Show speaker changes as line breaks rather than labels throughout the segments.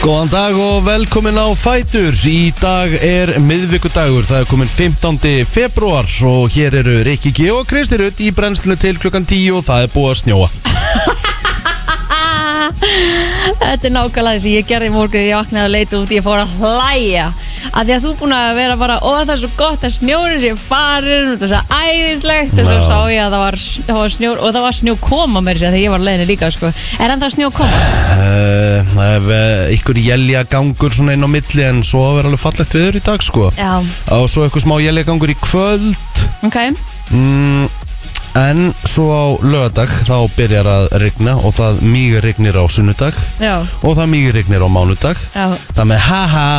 Góðan dag og velkomin á Fætur Í dag er miðvikudagur Það er komin 15. februar og hér eru Rikki G og Kristi Rutt í brennslunni til klukkan 10 og það er búið að snjóa
Ah, Þetta er nákvæmlega þess að ég gerði í morgun þegar ég vaknaði að leita út, ég fór að hlæja að því að þú búin að vera bara ó það er svo gott að snjórið sé farin og það er svo æðislegt og svo
Já.
sá ég að það var, það var snjór og það var snjó koma mér sér þegar ég var leiðinni líka sko. er ennþá snjó koma?
Eh, Það er eh, ykkur jæljagangur svona inn á milli en svo verður alveg fallegt viður í dag sko
Já,
og svo ykkur smá jæljagangur í kvöld
ok
mm, en svo á lögadag þá byrjar að rigna og það mýg rignir á sunnudag
Já,
og það mýg rignir á mánudag
já,
Það með haha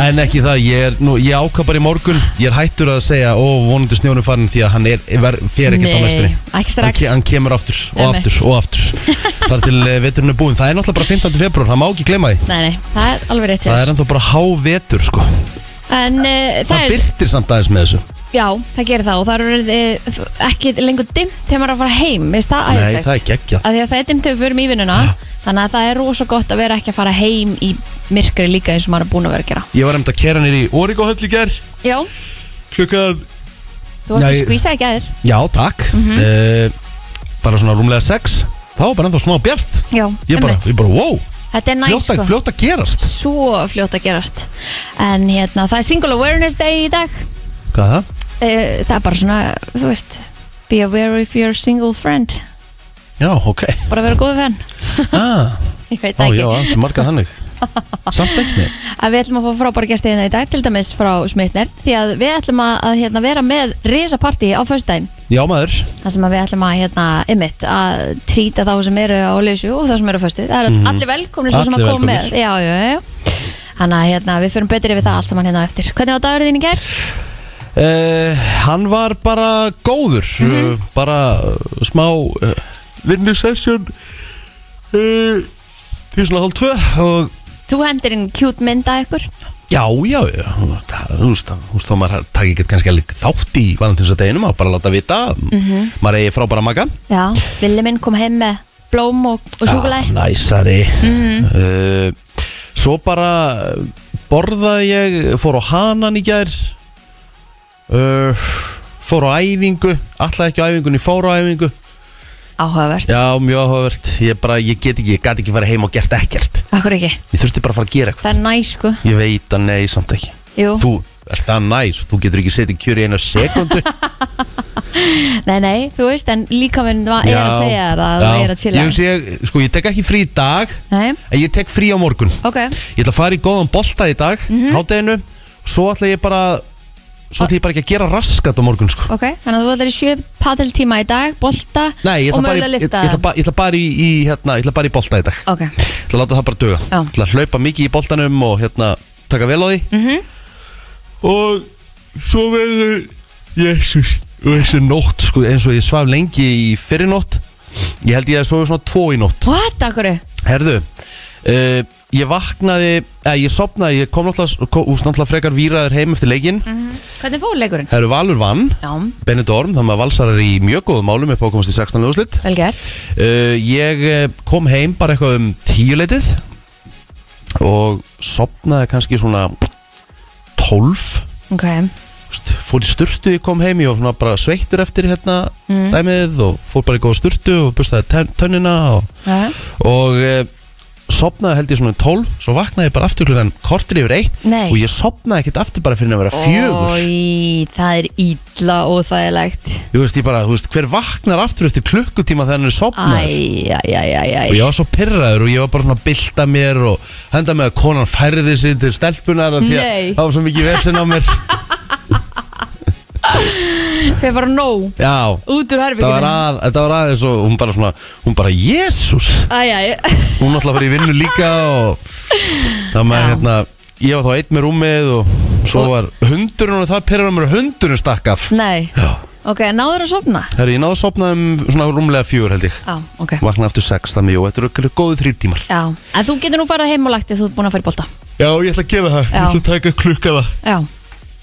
En ekki það, ég, er nú, ég ákvað bara í morgun Ég er hættur að segja, ó, vonandi snjónu farin Því að hann er, ver, fer ekkert á
Nei,
næstunni
ekki
hann,
strax.
ke- hann kemur aftur og
Einmitt.
aftur og aftur Þar til eh, veturinn er búinn Það er náttúrulega bara 15. februar, það má ekki gleyma því
nei, nei, það er alveg rétt hjá
Það
þér.
er ennþá bara hávetur, sko Það,
En uh, það er,
byrtir samt aðeins með þessu
já, það gerir það og það er uh, ekki lengur dimmt þegar maður er að fara heim, veist það æðislegt?
Nei, það er geggjað
að því að það er dimt ef við förum í vinnuna þannig að það er rosa gott að vera ekki að fara heim í myrkri líka eins og maður er búin að vera að gera
Ég var einmitt að kera nýri í Origo höll í ger
Já,
Klukkan
þú varst að
Nei.
skvísa ekki aðeir
Já, takk
Mhm.
uh, Bara svona rúmlega sex Þá var bara ennþá smá bjart
Já,
Ég bara, ég bara, wow,
Þetta er næ
fljótt að,
sko
fljótt að gerast
Svo fljótt að gerast En hérna, það er Single Awareness Day í dag
Hvað er það?
Eh, Það er bara svona, þú veist Be aware of your single friend
Já, ok
Bara vera góð fenn
ah,
Ég veit
Ó,
það
já,
ekki
alls marga þannig Samt ekki
að við ætlum að fá frábæra gesti hérna í dag til dæmis frá Smitner því að við ætlum að, að hérna, vera með risapartí á föstudaginn
Já, maður
Það sem að við ætlum að, hérna, ymmit, að trýta þá sem eru á lausu og þá sem eru á föstu. Það eru Mhm. allir velkomnir svo sem að
Allir
koma með.
velkomnir.
Já, já, já. Þannig að hérna, við fyrir betur yfir það allt saman hérna á eftir. Hvernig var dagur þín í gerð?
uh, Hann var bara góður mm
Mhm.
Bara uh, smá uh, vinnusessjón uh, Því svona hálf tvö og
Þú hendir inn kjút mynda ykkur.
Já, já, já, það- þú veist, það- þú veist þá maður takk ekkert kannski alveg þátt í valentinsadeginum að bara láta vita,
Mhm.
maður eigi frábæra maga
Já, Vili minn kom heim með blóm og, og Mhm. súkulæg.
ah, Næsari uh, Svo bara uh, borðaði ég, fór á hanan í gær uh, Fór á æfingu, alltaf ekki á æfingunni, fór á æfingu
Áhugavert.
Já, mjög áhugavert, ég bara, ég get ekki, ég gat ekki fara heim og gert ekkert
Akkur ekki.
Ég þurfti bara að fara að gera
Það
eitthvað
er næ, sko.
Ég veit að nei, samt ekki
Jú.
Þú, er það næs, þú getur ekki setið kjör í eina sekundu
Nei, nei, þú veist, en líka minn var, er að segja þér að það er að
Ég,
chilla.
hugsa, ég, sko, ég tek ekki frí í dag,
Nei,
en ég tek frí á morgun
ok.
Ég ætla að fara í góðan bolta í dag mm
Mhm.
Hátteginu Svo ætla ég bara Svo ætla ég bara ekki að gera raskat á morgun sko.
Ok, þannig að þú ætlar í sjö padeltíma í dag, bolta
Nei, ég
og
ætla bara, í, ég,
mögulega
ég,
lifta.
ætla bara, ég ætla bara í, í hérna, Ég ætla bara í bolta í dag
Ok,
Ég ætla að láta það bara duga
Já.
Ég ætla að hlaupa mikið í boltanum og hérna Taka vel á því
Mhm.
-hmm. Og svo verður Jésús Og þessi nótt sko eins og ég svaf lengi í fyrirnótt Ég held ég að svo svona tvo í nótt
what, akkur?
Herðu, uh, ég vaknaði, eða ég sopnaði, ég kom náttúrulega, kom, úst, náttúrulega frekar víraður heim eftir leikin.
Mhm. Hvernig fór leikurinn?
Herðu Valur vann,
Já,
Benidorm, þannig að Valsarar í mjög góðum málum upp á að komast í 16. ljóðslitt.
vel gert
Uh, ég eh, kom heim bara eitthvað um tíuleitið og sopnaði kannski svona 12,
Ok,
Úst, fór í sturtu, ég kom heim, ég var svona bara sveittur eftir hérna
Mm.
dæmið og fór bara í góða sturtu og bustaði tönn- tönnina og
ja.
og e, sopnaði held ég svona 12 svo vaknaði ég bara aftur klukkan kortir yfir eitt
Nei.
og ég sopnaði ekkert aftur bara fyrir að vera fjögur
Ói, það er ítla óþægilegt
þú veist ég bara, þú veist, hver vaknar aftur eftir klukkutíma þegar hann er sopnaður
Æ, æ, æ, æ, æ
og ég var svo pyrraður og ég var bara svona að bylta mér og henda með að konan færði sig til stelpunar af því að
Nei.
það var svo mikið vesen á mér
Þeir bara nóg
já,
út úr
það var,
herbygginu
að, þetta var aðeins og hún bara svona, hún bara, jésús
Æ, æ, æ
hún náttúrulega fyrir í vinnu líka og það með
Já.
hérna ég var þá einn með rúmið og svo
Og-
var hundurinn og það perraði mér að hundurinn stakk af
Nei,
já,
ok, náður að sofna?
herru ég náðu að sopna um svona rúmlega fjör held ég
Já, ok
vakna aftur sex það mjög, þetta eru okkur góðu þrýr tímar
Já, en þú getur nú farað heim og lagt þig, þú ert búin að fara í bolta
já, ég ætla að gefa það,
Ég ætla
að taka klukkana
Já,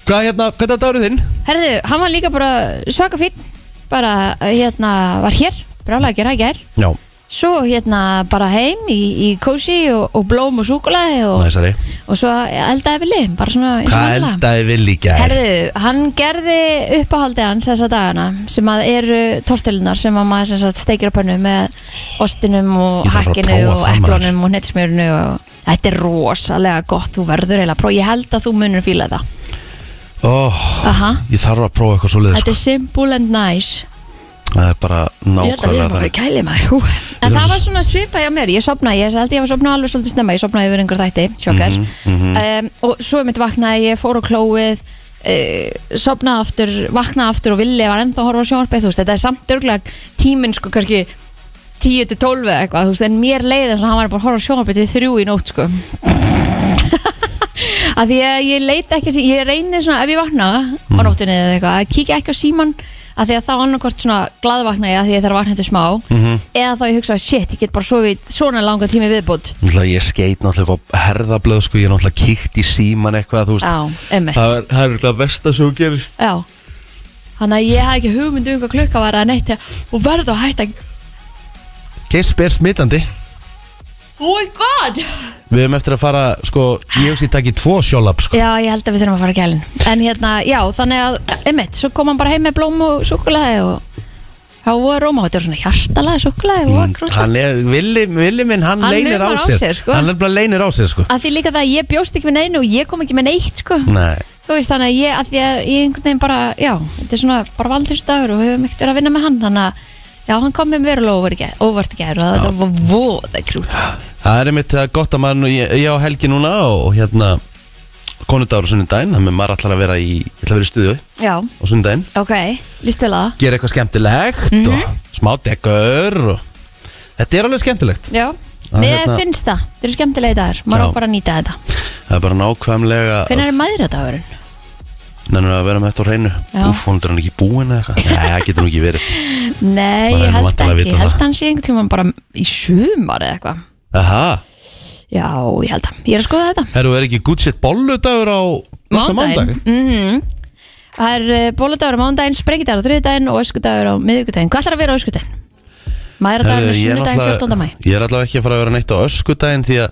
hvað hérna, hvað er þetta árið þinn?
herðu, hann var líka bara svaka fín Bara, hérna, var hér Brálega að gera að gera
já,
svo hérna bara heim í, í kósi og, og blóm og súkulaði og,
Næsari
og svo eldaði við lim, bara svona eins og
Hvað
venjulega.
eldaði Willi í gær?
Herðu, hann gerði uppáhaldið hans þessa dagana sem að eru tortilunar sem að maður sem sagt, steikir á pönnu með ostinum og
Ég þarf að
hakkinu
prófa
og
það, maður.
eplunum og nettsmjörnu og þetta er rosalega gott, þú verður eiginlega að prófa, ég held að þú munur fíla það
Oh,
Aha.
ég þarf að prófa eitthvað svo liðis
Þetta er simple and nice
Það er bara
Ég held að við
nákvæmlega
erum að fara í
þannig
kæli maður hú. En það var svona svipa hjá mér Ég sopnaði, ég held ég var sopnað alveg svolítið snemma Ég sopnaði yfir einhver þætti, sjokkar
Mhm,
um, Og svo mitt vaknaði, ég fór á klóið uh, Sopnaði aftur, vaknaði aftur Og villi var ennþá að horfa á sjónvarpið þú veist, Þetta er samt örglega tíminn sko kannski 10 til 12 eða eitthvað þú veist, En mér leið eins og hann var bara að horfa á sjónvarpið Til þrjú í nótt sko að því að ég leita ekki sí- ég reynir svona ef ég vakna
Mm.
á nóttinni eða eitthvað að kíkja ekki á síman að því að þá annarkort svona glaðvakna ég að því ég þarf að vakna þetta smá
Mhm.
eða þá ég hugsa shit, ég get bara sofið svona langa tími viðbútt
Náttúrulega ég skeit náttúrulega upp á herðablöð sko, ég er náttúrulega kíkt í síman eitthvað þú veist,
Já, emmitt
það er, það er eitthvað vest að svo gerir
Já Þannig að ég hafði ekki hugmynd um hvað klukka var að neitt og verður að hætta
Gisp er smitandi
Oh my god
Við höfum eftir að fara, sko, ég hef sér takk í tvo sjólab sko.
Já, ég held að við þurfum að fara að kælin En hérna, já, þannig að, emmitt, svo kom hann bara heim með blóm og súkulaði og þá var Róma, þetta er svona hjartalega súkulaði og
Mm,
krósa
Hann er, villi, villi minn, hann,
Hann
leynir á
lumar á
sér,
sér, sko.
Hann er bara leynir á sér, sko
að því líka það að ég bjóst ekki með neinu og ég kom ekki með neitt sko
Nei,
þú veist þannig að ég, að því að ég einhvern veginn bara já, þetta er svona bara valdinsdagur og höfum ekkert verið að vinna með hann þannig að já, hann kom með verulega óvart í gær- óvart í gær og þetta var voða krútt
það er einmitt uh, gott að maður, nú- ég, ég á helgi núna og, og hérna, konudagur og sunnudaginn þannig að maður ætlar að vera í, ég ætla að vera í stuðu á
já,
sunnudaginn,
ok, líst vel að
gera eitthvað skemmtilegt og smá degur og þetta er alveg skemmtilegt
það já,
Að
mér
hérna-
finnst það, þetta eru skemmtilegi dagar maður
Já.
á bara að nýta þetta
það er bara nákvæmlega
hvernig er maður þetta árun?
Nennar að vera með þetta á hreinu
Já.
Úf, hún er hann ekki búin eða eitthvað Nei, það getur hún ekki verið
nei,
Maður er nú
ég held
væntanlega hérna að
ekki,
vita
ég held
það.
hann sé einhvern tímann bara í sumar eða eitthvað
Aha,
já, ég held það, ég er að skoða þetta
herru, er ekki good shit bolludagur á næsta mándag?
Mhm. Það er eh, bóludagur á mándaginn, sprengidagur á þriðdaginn og öskudagur á miðvíkudaginn. Hvað ætlar að vera á öskudaginn? Mæðradagur
Herru,
á
ég er
sunnudaginn 14. mæ.
náttúrulega- Ég er allavega ekki að fara að vera neitt á öskudaginn Því að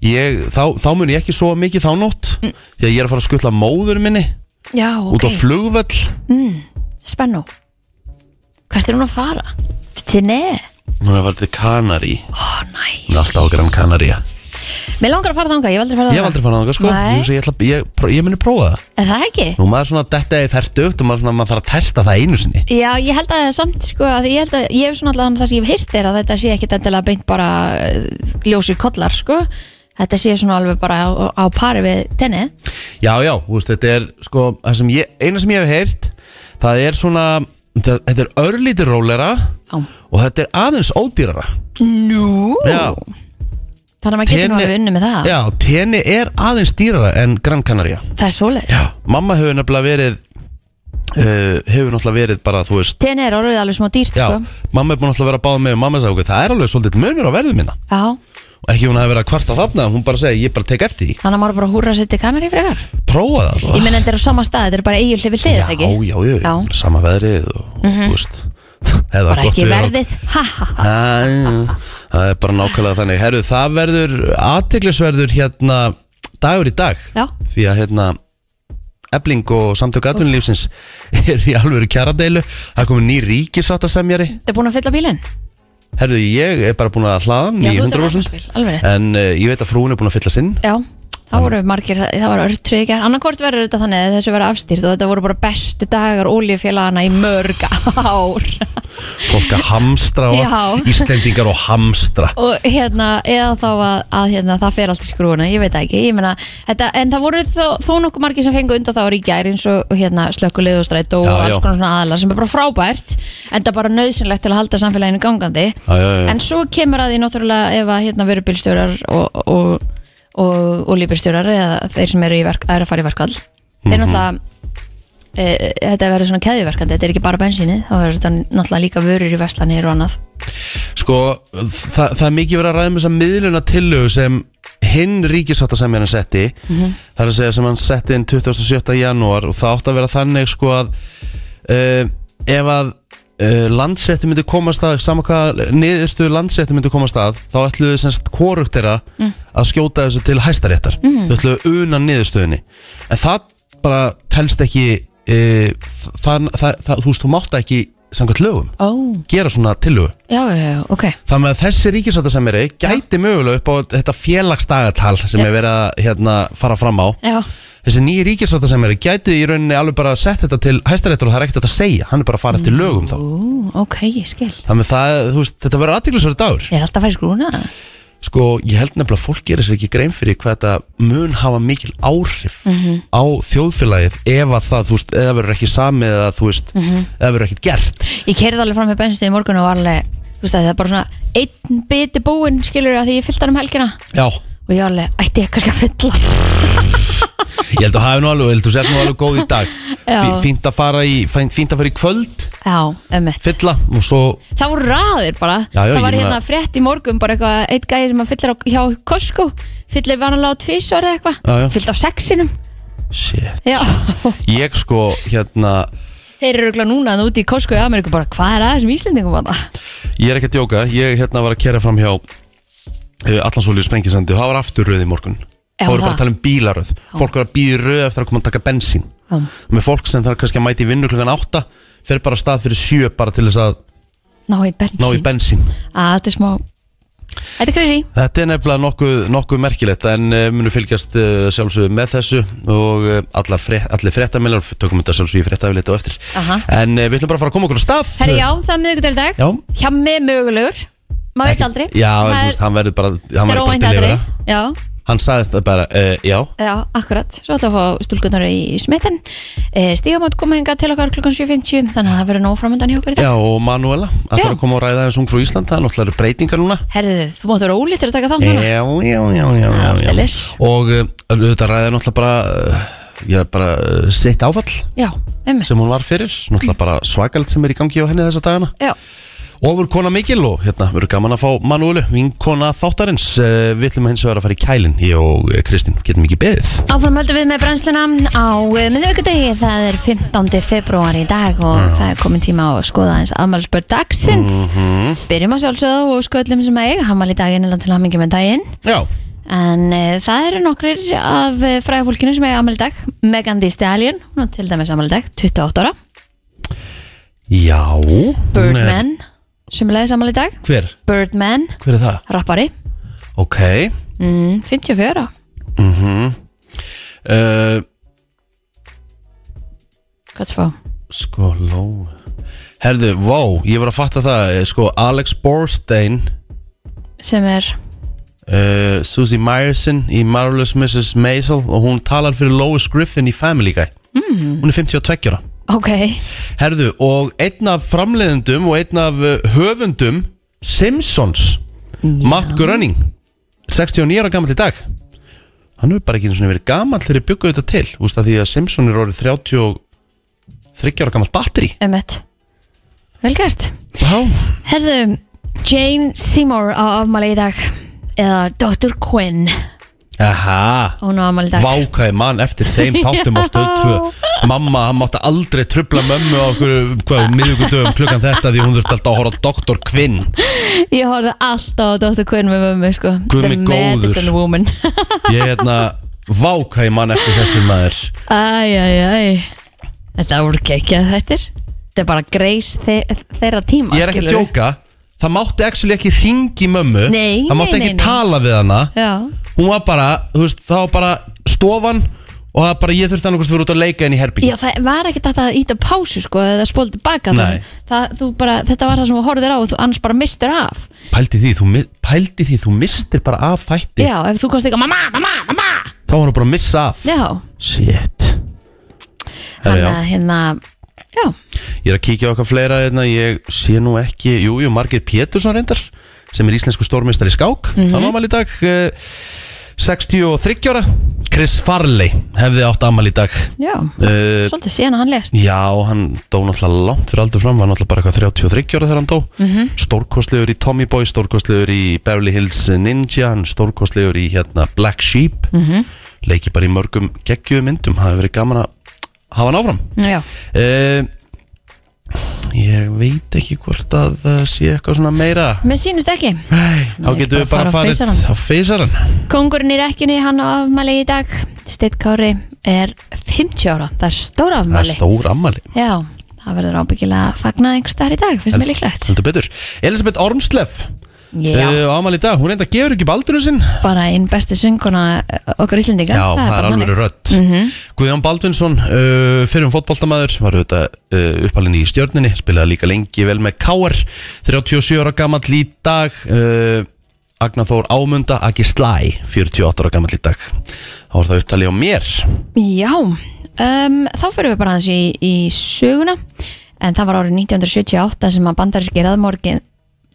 ég, þá, þá mun ég ekki svo mikið þá nótt Því að ég er að fara að skutla móður minni
Já,
Út
Mm. ok.
á flugvöll
Spennu. Hvert er hún að fara? Tinni.
Hún er að fara til Kanari
Ó, næs.
Hún er alltaf á Gran Kanaria
Mér langar að fara þangað, ég hef aldrei farið
Ég hef aldrei farað á sko
Nei.
Ég, hugsa, ég, ætla, ég, pró- ég muni prófa það
Er það ekki?
Nú maður er svona detta í ferdugt Og maður, svona, maður þarf að testa það einu sinni
Já, ég held að það er samt, sko, að ég held að ég hef svona allan það sem ég hef heyrt er að þetta sé ekkit endilega beint bara eh, ljósir kollar, sko. Þetta sé svona alveg bara á, á pari við tenni.
Já, já, þú veist, þetta er sko, það sem ég, eina sem ég hef heyrt það er svona, þetta er, þetta er örlítið rólera
Já.
og þetta er aðeins ódýrara
Nú.
Já,
Þannig að maður getur nú
Tenni-
alveg unni með það.
já, tenni er aðeins dýrara en Gran Canaria
Það er svoleiðis.
Já, mamma hefur nefnilega verið uh, hefur náttúrulega verið bara, þú veist
Tenni er orðið alveg smá dýrt,
Já,
sko.
mamma er búin náttúrulega að vera að báða með og mamma sagði okkur, það er alveg svolítið munur á verðum minna
Já.
og ekki hún hafi verið að kvarta þarna, hún bara segi, ég bara tek eftir því
Þannig að maður bara húrra sér til kannari frekar.
prófa það allavega.
Ég meina þetta er á sama stað, þetta er bara eigin hlifið hlið,
Já,
þetta
já,
ekki?
já, ég-
Já. Mhm.
sama veðrið og, þú veist hefði það
Bara
gott
ekki
við að-
verðið. Ha, ha, ha.
Æ, Það er bara nákvæmlega þannig Herru, það verður aðteglisverður hérna dagur í dag
Já.
Því að hérna Ebling og samtök atvinnulífsins er í alvöru kjaradeilu Það er komið ný ríkisáttasemjari
Þetta er búin að fylla bílinn?
Herru, ég er bara búin að hlaðan
Já,
í
þú ert
100%
að vatnaspil, alveg rétt.
En uh, ég veit að frúin er búin að fylla sinn
Já. Það voru margir, það var örtrið ekki. Annarkort verður þetta þannig að þessu verður afstýrt og þetta voru bara bestu dagar oljufélagana í mörg ár.
Fólk að hamstra og allt.
Já.
Íslendingar og hamstra
og hérna, eða þá að, að hérna, það fer allt í skrúuna, ég veit það ekki ég meina, þetta, en það voru þó, þó nokkuð margir sem fengu undan þá í gær eins og hérna, slökkulið og strætt
Já,
og
já.
alls konar svona aðlar sem er bara frábært en það er bara nöðsynlegt til að halda samfélaginu gangandi
Já, já, já.
en svo kemur að því náttúrulega ef að hérna, veru bílstjórar og, og, og, og lífbílstjórar eða þeir sem eru, í verk, eru að fara í verkall
Mhm.
þeir náttúrulega e, þetta verður svona keðjuverkandi, þetta er ekki bara bensinni þá verður þetta náttúrulega líka vörur í veslanir og annað
Sko, það, það er mikið verið að ræða með þessa miðluna tillögu sem hinn ríkisáttasemjarinn setti Það er að segja sem hann setti inn 27. janúar og það átti að vera þannig sko að uh, eh, ef að uh, landsrétti myndi komast að sama hvað niðurstu landsrétti myndi komast að þá ætluðu semst korugt þeirra að skjóta þessu til hæstaréttar mm. þau ætluðu unan niðurstöðinni en það bara telst ekki uh, það, það, það, þú veist, þú mátt ekki samkvæmt lögum
Ó,
gera svona tillögu
já, já, já, ok
Þannig að þessi ríkisvættasemiri gæti mögulega upp á þetta félagsdagatal sem er verið að hérna, fara fram á
Já,
þessi nýji ríkisvættasemiri gæti í rauninni alveg bara að setja þetta til hæstaréttur og það er ekkert hægt að segja, hann er bara að fara eftir lögum þá
ú, ok, ég skil
Þannig að það, þú veist, þetta verður aðdýrlisverður dagur
Ég er alltaf að færa skrúna
Sko, ég held nefnilega að fólk gerir sér ekki grein fyrir hvað þetta mun hafa mikil áhrif á þjóðfélagið ef að það, þú veist, eða verður ekki samið eða þú veist, eða verður ekki gert
Ég kerði alveg fram með bensinni í morgun og var alveg Þú veist að það er bara svona einn biti búinn skilur að því ég fyllt hann um helgina
Já,
og ég var alveg, ætti ég kannski að fylla
ég held að hafa nú alveg, ég held að þú sér nú alveg góð í dag
Já.
Fí- Fínt að fara í, fín- fínt að fara í kvöld
Já, ömmett
fylla og svo
Það voru raðir bara
Já, já,
Það var
ég
hérna
meina-
frétt í morgun bara eitthvað eitt gæði sem að fyllir á, hjá Costco fyllir vanalega á tvísvar eða
Já, já.
eitthvað fyllt á sexinum
shit,
Já.
ég sko hérna,
Þeir eru örugglega núna þarna úti í Costco í Ameríku bara hvað er aðeins um Íslendingum að
ég er ekki að djóka ég hérna var að kera fram hjá allansóliður sprengisandi og það var aftur röð í morgun
Já,
það voru bara
það.
að tala um bílaröð fólk var að býða í röð eftir að koma að taka bensín
Já.
með fólk sem þarf kannski að mæti vinnu klukkan 8 fer bara af stað fyrir 7 bara til þess að
Ná í bensin
ná í bensín
Að þetta er smá Þetta er crazy
þetta er nefnilega nokkuð, nokkuð merkilegt en uh, munum fylgjast uh, sjálfsögðu með þessu og uh, allar frétt, allir fréttamiljar tökum þetta sjálfsögðu í fréttamilit og eftir
Aha.
en uh, við ætlum bara að fara að koma okkur á stað
Herri já, það er miðvikudagur í dag
Já.
Hjá mig mögulegur Maður veit
Ekki-
aldrei
Já, en
það
þú
er,
veist, hann verður bara hann
það er
verður bara
óvænt
til yfir
aldrei
það
Já,
Hann sagðist það bara, uh, já
já, akkurat Svo ætla að fá stúlkunar í smitten e, Stígamátt koma hingað til okkar klukkan 7.50 Þannig að það verður nóg framöndan hjá okkur í dag
Já, og Manuela,
Já.
ætlar að koma og ræða aðeins ung frá Ísland Það er náttúrulega breytingar núna
Herðu, þú máttu vera ólítur að taka þátt
Já,
núna
já, já, já, já, já.
Aldeilis.
Og uh, þetta ræða náttúrulega bara uh, Já, bara uh, sitt áfall
Já, einmitt
sem hún var fyrir Náttúrulega bara svakalt sem er í gangi á henni þessa dagana
Já,
Ofur kona mikil og hérna verður gaman að fá Manuelu, vinkona þáttarins uh, Við ætlum hins vegar að fara í kælin Ég og eh, Kristín, getum ekki beðið
áfram höldum við með brennsluna á miðvíkudegi, það er 15. februar í dag og það er komin tíma á að skoða eins afmælspörd dagsins Byrjum að sjálfsögðu og skoðlum sem að eiga hamal í daginn eða til hamingi með daginn
Já,
en e, það eru nokkrir af e, fræga fólkinu sem eiga afmæli í dag Megan Thee Stallion, hún er til dæmis afmæli í dag 28 ára,
já hún er-
Birdman sem er leiðis afmæli í dag,
Hver,
Birdman
hver er það?
rappari,
Ok,
mm, 54 ára
Uh,
hvað spá?
sko, ló Herðu, vá, ég var að fatta það eh, Sko, Alex Borstein
sem er
uh, Susie Meyerson í Marvelous Mrs. Maisel og hún talar fyrir Lois Griffin í Family Guy mm. Hún er 52 ára
ok,
Herðu, og einn af framleiðendum og einn af eh, höfundum Simpsons Matt Groening 69 ára gamall í dag Hann hefur bara ekki einu sinni verið gamall þegar ég byggu þetta til Úst að því að Simpson er orðið 33 ára gamall batteri
ömmet velgært
Já
Herðu, Jane Seymour á afmæli í dag eða Dr. Quinn
Aha,
hún á afmæli í dag
vákaði mann eftir þeim þáttum á stöð 2 Mamma, hann mátti aldrei trubla mömmu á okkur hvað, miðugudöfum klukkan þetta því hún þurfti alltaf að horfa á Dr. Kvinn
Ég horfði alltaf á Dr. Quinn með mömmu sko.
Guð
The
minn góður.
Medicine Woman
Ég hérna, vákaði mann eftir þessu maður
Æj, æj, æj Þetta voru geggjað þetta Þetta er bara greis þe þeirra tíma
Ég er ekki að
skilurðu.
djóka, það mátti actually ekki ringi mömmu
Nei,
Það mátti
nei,
ekki
nei, nei.
tala við hana
Já,
Hún var bara, þú veist, það var bara stofan og það var bara ég þurfti hann okkur fyrir út að leika henni í herbyggi
Já það var ekki þetta að íta á pásu sko, eða spóla tilbaka
Nei.
það, þú bara, Þetta var það sem þú horfðir á og þú annars bara mistur af
Pældi því, þú, mi- pældi því, þú mistir bara af þætti
Já, ef þú komst ekki mamma, mamma, mamma
Þá var hann bara að missa af
Já,
Shit Herra,
hann
já.
að hérna Já,
Ég er að kíkja á okkar fleira hérna, ég sé nú ekki, jújú, jú, Margir Pétursson reyndar sem er íslensku stórmeistari í skák
Mhm.
mm -hmm. hann ámæli í dag eh, 63 ára Chris Farley hefði átt ámæli í dag
já
uh,
Svolítið síðan að hann lést
Já, hann dó náttúrulega langt fyrir aldur fram var náttúrulega bara eitthvað 33 ára þegar hann dó mm
Mhm.
stórkostlegur í Tommy Boy, stórkostlegur í Beverly Hills Ninja, hann stórkostlegur í hérna, Black Sheep mm
Mhm.
leiki bara í mörgum geggjöðu myndum það hefur verið gaman að hafa hann áfram
Já,
Eh, E, Ég veit ekki hvort að það sé eitthvað svona meira
Mér sýnist ekki
Nei, þá
Nei,
getum við
bara
bara
fara á
farið
feysarann.
á feysaran
Kongurinn í rekjunni, hann á afmæli í dag Steitt Kári er 50 ára Það er stóra
Það er
afmæli
stór ammali
Já, það verður ábyggilega að fagna einhvers þar í dag, finnst mér líklegt
Heldur betur Elisabeth Ormsleff
Já,
uh, Amal í dag, hún reynda gefur ekki baldurinn sinn
bara einn besti sönguna uh, okkar Íslendinga
Já, það er Mhm.
bara
alveg
þannig.
rödd Guðjón Baldvinsson, uh, fyrir um fótboltamaður var auðvitað uh, uppalinn í stjörninni spilaði líka lengi vel með Káar 37 ára gamall í dag uh, Agnar Þór Ámunda Aki Slæ, 48 ára gamall í dag þá var það upptalið á mér
Já, um, þá fyrir við bara hans í, í söguna en það var árið 1978 sem að bandaríski raðmorgin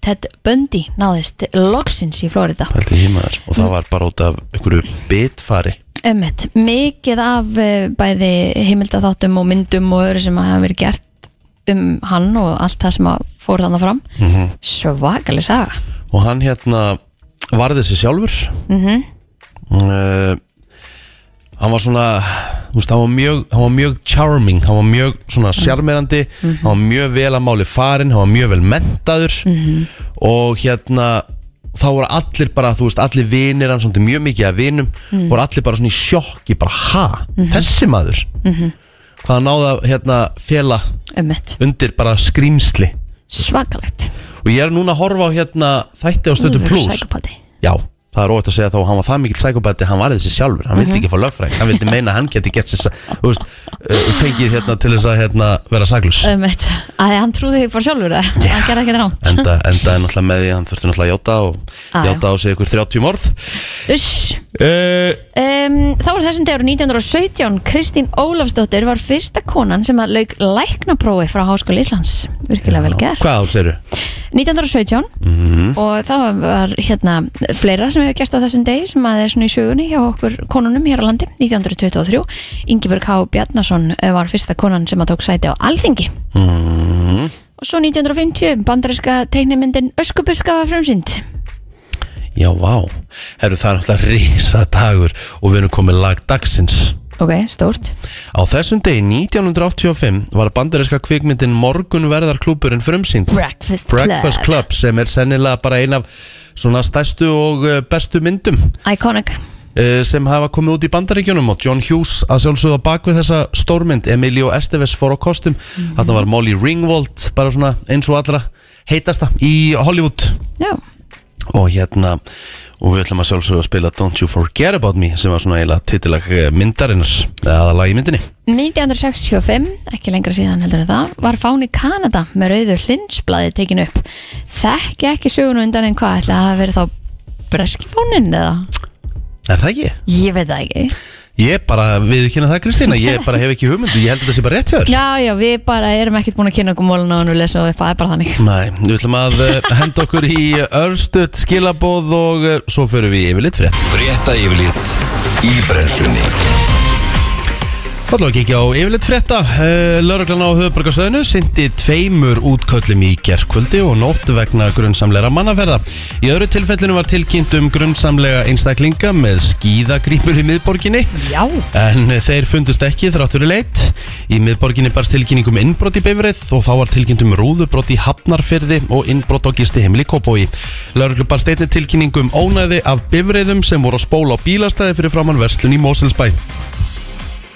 Ted Bundy náðist loksins í Florida
Pældi því maður. og það var bara út af einhverju bitfari
Ömmit, mikið af eh, bæði heimildatháttum og myndum og öðru sem að hafa verið gert um hann og allt það sem að fór þannig fram mm -hmm. svakalig saga
og hann hérna varði þessi sjálfur
mm
uh, hann var svona þú veist, hann var mjög, hann var mjög charming hann var mjög svona sjarmerandi hann var mjög vel að máli farin hann var mjög vel mentaður og hérna þá voru allir bara, þú veist, allir vinir hann svona mjög mikið að vinum, voru allir bara svona í sjokki, bara ha, þessi maður hvað hann náði að hérna fela
Ömmit,
undir bara skrýmsli
svakalegt
og ég er núna að horfa á hérna þætti á stötu
Alvöru
pluss
psykopati.
Já, það er óvægt að segja þá að hann var það mikill sækobæti hann varði þessi sjálfur, hann
Mhm.
vildi ekki fá lögfræðing hann vildi meina að hann geti gett sér þú veist, uh, fengið hérna til þess að hérna, vera saklus
Ömmit, að hann trúði þig fór sjálfur það, yeah. hann gerði ekki ránt
enda, enda er náttúrulega með því að hann þurfti náttúrulega að játa og
Ah, já.
játa á sig um ykkur 30 morð
Uss
uh,
Um, þá var þessum dagur 1917 Kristín Ólafsdóttir var fyrsta konan sem að lauk læknaprófi frá Háskóli Íslands virkilega vel gert
Hvað ár segirðu?
1917 og þá var hérna fleira sem hefur gæst á þessum degi sem að er svona í sögunni hjá okkur konunum hér á landi 1923 Ingibjörg H. Bjarnason eh, var fyrsta konan sem að tók sæti á Alþingi
Mm,
og svo 1950 bandaríska teiknimyndin Öskubuska var frumsýnd
já, vá Herru, það er náttúrulega risa dagur og við erum komið lag dagsins
ok, stórt
Á þessum degi 1985 var bandarinska kvikmyndin Morgunverðarklúburinn frumsýnd
Breakfast,
Breakfast
Club
Club sem er sennilega bara ein af svona stærstu og eh, bestu myndum
Iconic
eh, sem hafa komið út í bandaríkjunum og John Hughes að sjálfsögða bak við þessa stórmynd Emilio Esteves fór á kostum mm. þarna var Molly Ringwald bara svona eins og allra heitasta í Hollywood
Já,
og hérna og við ætlum að sjálfsögða að spila Don't You Forget About Me sem var svona eiginlega titilag eh, myndarinnar eða lag í myndinni
1965, ekki lengra síðan heldur en það, var fáni Kanada með rauðu hlinsblæði tekin upp. Þekki ekki sögunu undan en hvað, ætla að hafa verið þá breski fáninn eða?
Er það ekki?
Ég veit það ekki.
Ég bara, við kynna það Kristína, ég bara hef ekki hugmyndu, ég held að þetta sé bara rétt hjá þér
Já, já, við bara erum ekkert búin að kynna okkur mólun á hann og lesa og það er bara þannig.
Nei, við ætlum að eh, henda okkur í örstuðt skilabóð og eh, svo förum við yfir lit frétt.
Frétta yfirlit í brenslunni
Það ætlum við að kíkja á yfirleitt frétta. Lörglan á höfuborgarsöðinu syndi tveimur útköllum í gerkvöldi og nótt vegna grunnsamleira mannaferða. Í öðru tilfellinu var tilkynnt um grunnsamlega einstaklinga með skíðagrýpur í miðborginni.
Já.
En þeir fundust ekki þrátt fyrir leitt. Í miðborginni barst tilkynning um innbrot í bifrið og þá var tilkynnt um rúðubrot í Hafnarfyrði og innbrot á gisti heimili Kópói. Lörglu barst einnig tilkynning um ónæði af bifriðum sem voru að spóla á bílastæði fyrir framann verslun í Moselsbæ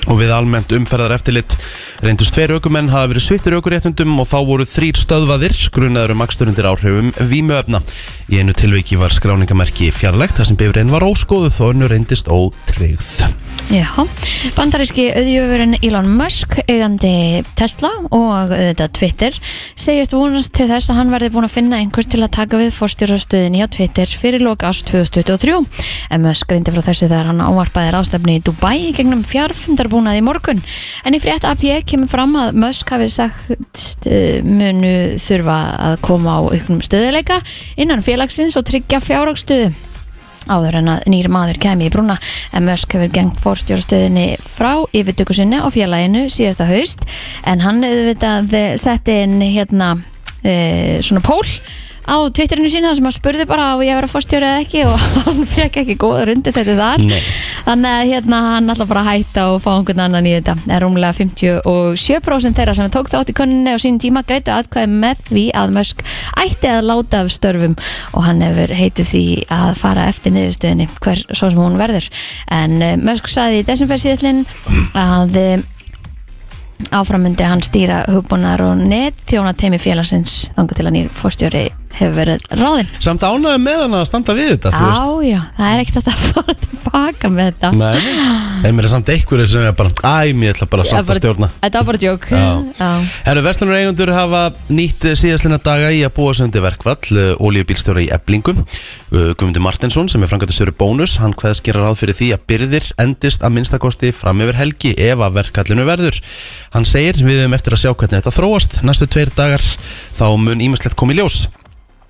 og við almennt umferðar eftirlit reyndust tveir aukumenn hafa verið svittir aukuréttundum og þá voru þrýr stöðvaðir grunaður um aksturundir áhrifum vímuöfna. Í einu tilviki var skráningamerki fjarlægt þar sem bifurinn var óskoðuð og önnu reyndist ótryggð.
Já, bandaríski auðjöfurinn Elon Musk, eigandi Tesla og auðvitað Twitter segist vonast til þess að hann verði búin að finna einhver til að taka við fórstjórastöðinni á Twitter fyrir loka ást 2023 en Musk reyndi frá þessu þegar hann ávarpaði ráðstefni í Dubai í gegnum fjarfundarbúnað í morgun en í frétt AP kemur fram að Musk hafi sagt eh, munu þurfa að koma á auknum stöðuleika innan félagsins og tryggja fjárhagstöðu áður en að nýr maður kemi í brúna en Musk hefur gengt fórstjórastöðinni frá yfirtöku sinni á félaginu síðasta haust en hann auðvitað setti inn hérna e, svona pól á Twitterinu sína þar sem hann spurði bara á ég að vera fórstjóri eða ekki og hann fekk ekki góða rundi þetta þar
Nei.
Þannig að hérna hann ætla bara að hætta og fá einhvern annan í þetta. Það er rúmlega 57% þeirra sem tók þátt í könninni á sínum tíma greitu atkvæði með því að Musk ætti að láta af störfum og hann hefur heitið því að fara eftir niðurstöðinni hver svo sem hún verður. En eh, Musk saði í desember síðallinn að eh, áframundi hann stýra hugbúnar og net þjóna teimi félagsins þangar til að nýr fórstjóri hefur verið ráðinn.
Samt ánægði með hann að standa við þetta, þú
Á,
veist
já, það er ekkert hægt að fara tilbaka með þetta.
Nei, nei. en mér er samt einhverjir sem er bara Æ, mér ætla bara að samt
Það er
að
bara-
stjórna
Þetta var bara djók
Já.
Já.
Herru, verslunar eigendur hafa nýtt síðastlina daga í að búa sig undir verkvall Ólíubílstjóra í Eblingu Uh, Guðmundur Martinsson sem er framkvæmtastjóri bónus hann hvaðs gera ráð fyrir því að byrðir endist að minnstakosti fram yfir helgi ef að verkvallinu verður Hann segir við um eftir að sjá hvernig þetta þróast næstu tveir dagar þá mun ímestlegt komi ljós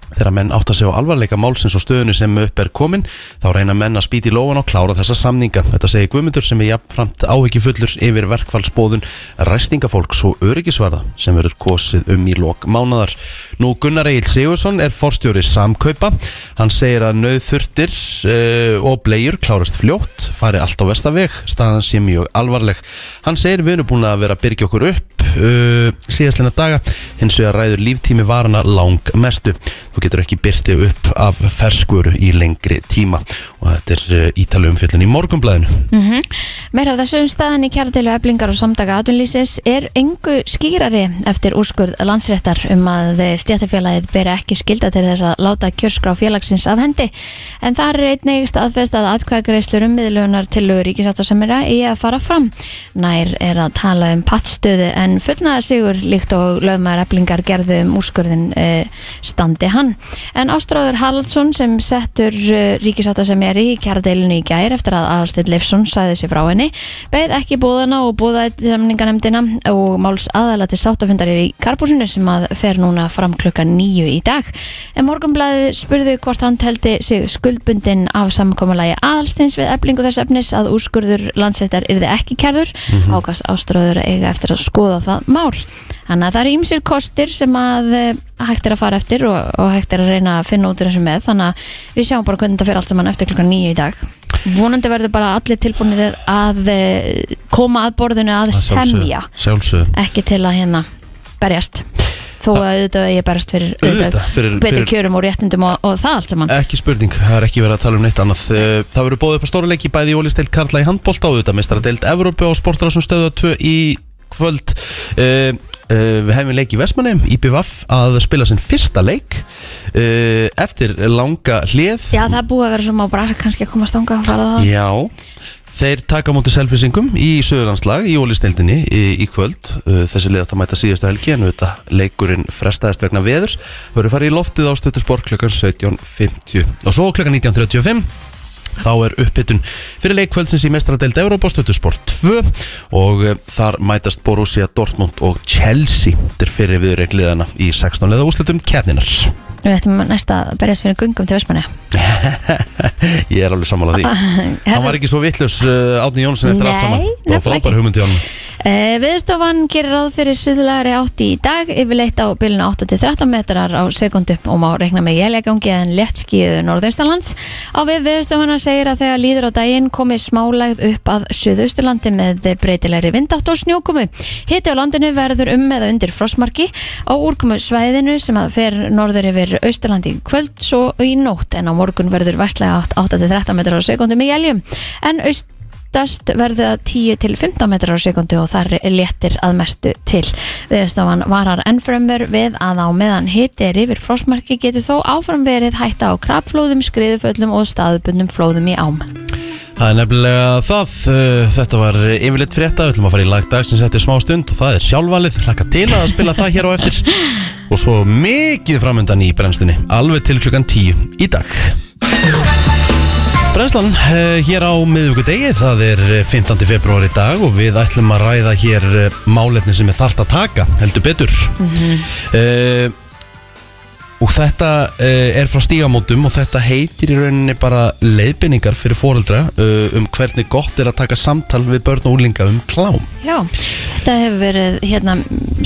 Þegar menn átta sig á alvarleika málsins og stöðunni sem upp er komin, þá reyna menn að spýti í lóan og klára þessa samninga. Þetta segir Guðmundur sem er jafnframt áhyggjufullur yfir verkfallsbóðun ræstingafólks og öryggisvarða sem verður kosið um í lok mánadar. Nú Gunnar Egil Sigursson er forstjóri samkaupa. Hann segir að nöðþurftir uh, og blegjur klárast fljótt, fari allt á vestaveg, staðan sé mjög alvarleg. Hann segir við erum búin að vera að byrja okkur upp uh, síðastlina daga, hins vegar ræður líftími varana lang mestu. Þú getur ekki byrtið upp af ferskuru í lengri tíma og þetta er uh, ítalið umfjöllun í morgumblæðinu.
Mhm. Meira af þessu um staðan í kjartilu eblingar og samtaka atunlýsis er engu skýrari eftir úrskurð landsréttar um að stjættafélagið beri ekki skilda til þess að láta kjörskrá félagsins af hendi. En þar er einnig staðfest að atkvæðagreislur um miðlunar til lögur ríkisáttasemira í að fara fram. Nær er að tala um pattstöðu en fullnaða sigur líkt og lögmaður eblingar gerðu um úrskurðin e, standi hann. En Ástráður Haraldsson sem settur e, ríkisáttasemiri í kjartilinu í gær eftir að aðalstill Leifsson sagði sig frá henni beið ekki bóðana og bóðaði til samninganemdina og máls aðalega til sáttafundar í Karpúsinu sem að fer núna fram klukka nýju í dag en morgunblæði spurði hvort hann teldi sig skuldbundin af samkommalagi aðalstins við eflingu þess efnis að úrskurður landsettar yrði ekki kærður mm -hmm. ákast ástráður að eiga eftir að skoða það mál Þannig að það eru ýmsir kostir sem að eh, hægt er að fara eftir og, og hægt er að reyna að finna út úr þessu með þannig að við sjáum bara hvernig þetta fer allt saman eftir klukkan nýju í dag vonandi verður bara allir tilbúinir að eh, koma að borðinu að, semja
Sjálfsög.
ekki til að hérna berjast þó að auðvitað ég berjast fyrir,
Auðvitað, fyrir-
betri
fyrir-
kjörum og réttindum og, og það allt saman
Ekki spurning, það er ekki verið að tala um neitt annað Eh, Það verður bóðið upp á stóra leiki bæði í Ólisteild Karla í handbólta og auðvitað meistaradeild Evrópu á sportrásum stöðu 2 í kvöld uh, uh, Við hefum leik í Vestmannheim, IBVF að spila sinn fyrsta leik uh, eftir langa hlið
Já það er búið að vera svona má bara kannski að komast þangað og fara það
Já Þeir taka á móti selfisingum í söðurlandslag í ólisteildinni í, í kvöld Uh, Þessi lið átt að mæta síðustu helgi en þetta leikurinn frestaðist vegna veðurs Verður farið í loftið á stöttusport klukkan 17.50 og svo klukkan 19.35 Þá er uppbytun fyrir leikvöldsins í mestradeild Európa stöttusport 2 og uh, þar mætast Borussia Dortmund og Chelsea Þetta er fyrir viðreikliðana í 16 leða úslutum kefninar
Við ættum næst að berjast fyrir gungum til Vestmanni
Ég er alveg sammála því Hann var ekki svo vittlust uh, Átni Jónsson eftir allt
Ah, Nei,
saman
nefnilega
var frábær
ekki.
hugmyndi á hann
Eh, Viðstofan gerir ráð fyrir suðlæri átti í dag, yfirleitt á bylunu 8-13 metrar á sekundu og má reikna með jæljagangi en léttskíðu norðaustalands. Á við viðstofana segir að þegar líður á daginn komi smálegð upp að suðausturlandi með breytilegri vindátt og snjókumu. Hiti á landinu verður um eða undir frosmarki á úrkumu svæðinu sem að fer norður yfir austurlandi í kvöld svo í nótt en á morgun verður vestlega 8-13 metrar á sekundu með jæljum en aust oftast verða 10 til 15 metrar á sekundu og þar léttir að mestu til. Viðstofan varar ennfremur við að á meðan hiti er yfir frostmarki getur þó áfram verið hætta á krabflóðum, skriðuföllum og staðbundnum flóðum í ám.
Það er nefnilega það uh, Þetta var yfirleitt frétta Við ætlum að fara í lagdag sem settir smá stund og það er sjálfvalið Laka til að spila það hér á eftir Og svo mikið framöndan í brennstunni Alveg til klukkan 10 í dag Brennslan uh, hér á miðvíkudegi Það er eh, 15. februar í dag og við ætlum að ræða hér eh, Eh, uh, málefni sem er þart að taka heldur betur mm og þetta uh, er frá stígamótum og þetta heitir í rauninni bara leiðbynningar fyrir foreldra uh, um hvernig gott er að taka samtal við börn og úlinga um klám
Já, þetta hefur verið hérna,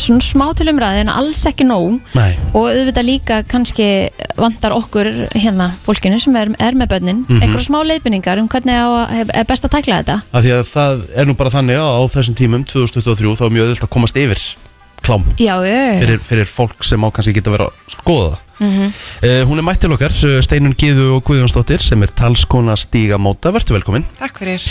svona smá til umræði en alls ekki nóg
Nei.
og auðvitað líka kannski vantar okkur hérna fólkinu sem er, er með börnin mm
Mhm.
einhverja smá leiðbynningar um hvernig á, að- hef- er best að tækla þetta
af því að það er nú bara þannig að á þessum tímum 2023 þá er mjög öðvilt að komast yfir klám
Já, já,
fyrir, fyrir fólk sem á kannski geta verið að skoða það
Mhm.
Uh, hún er mætt til okkar, uh, Steinun Gíðu og Guðjónsdóttir sem er talskona stígamóta, verður velkomin
Takk fyrir.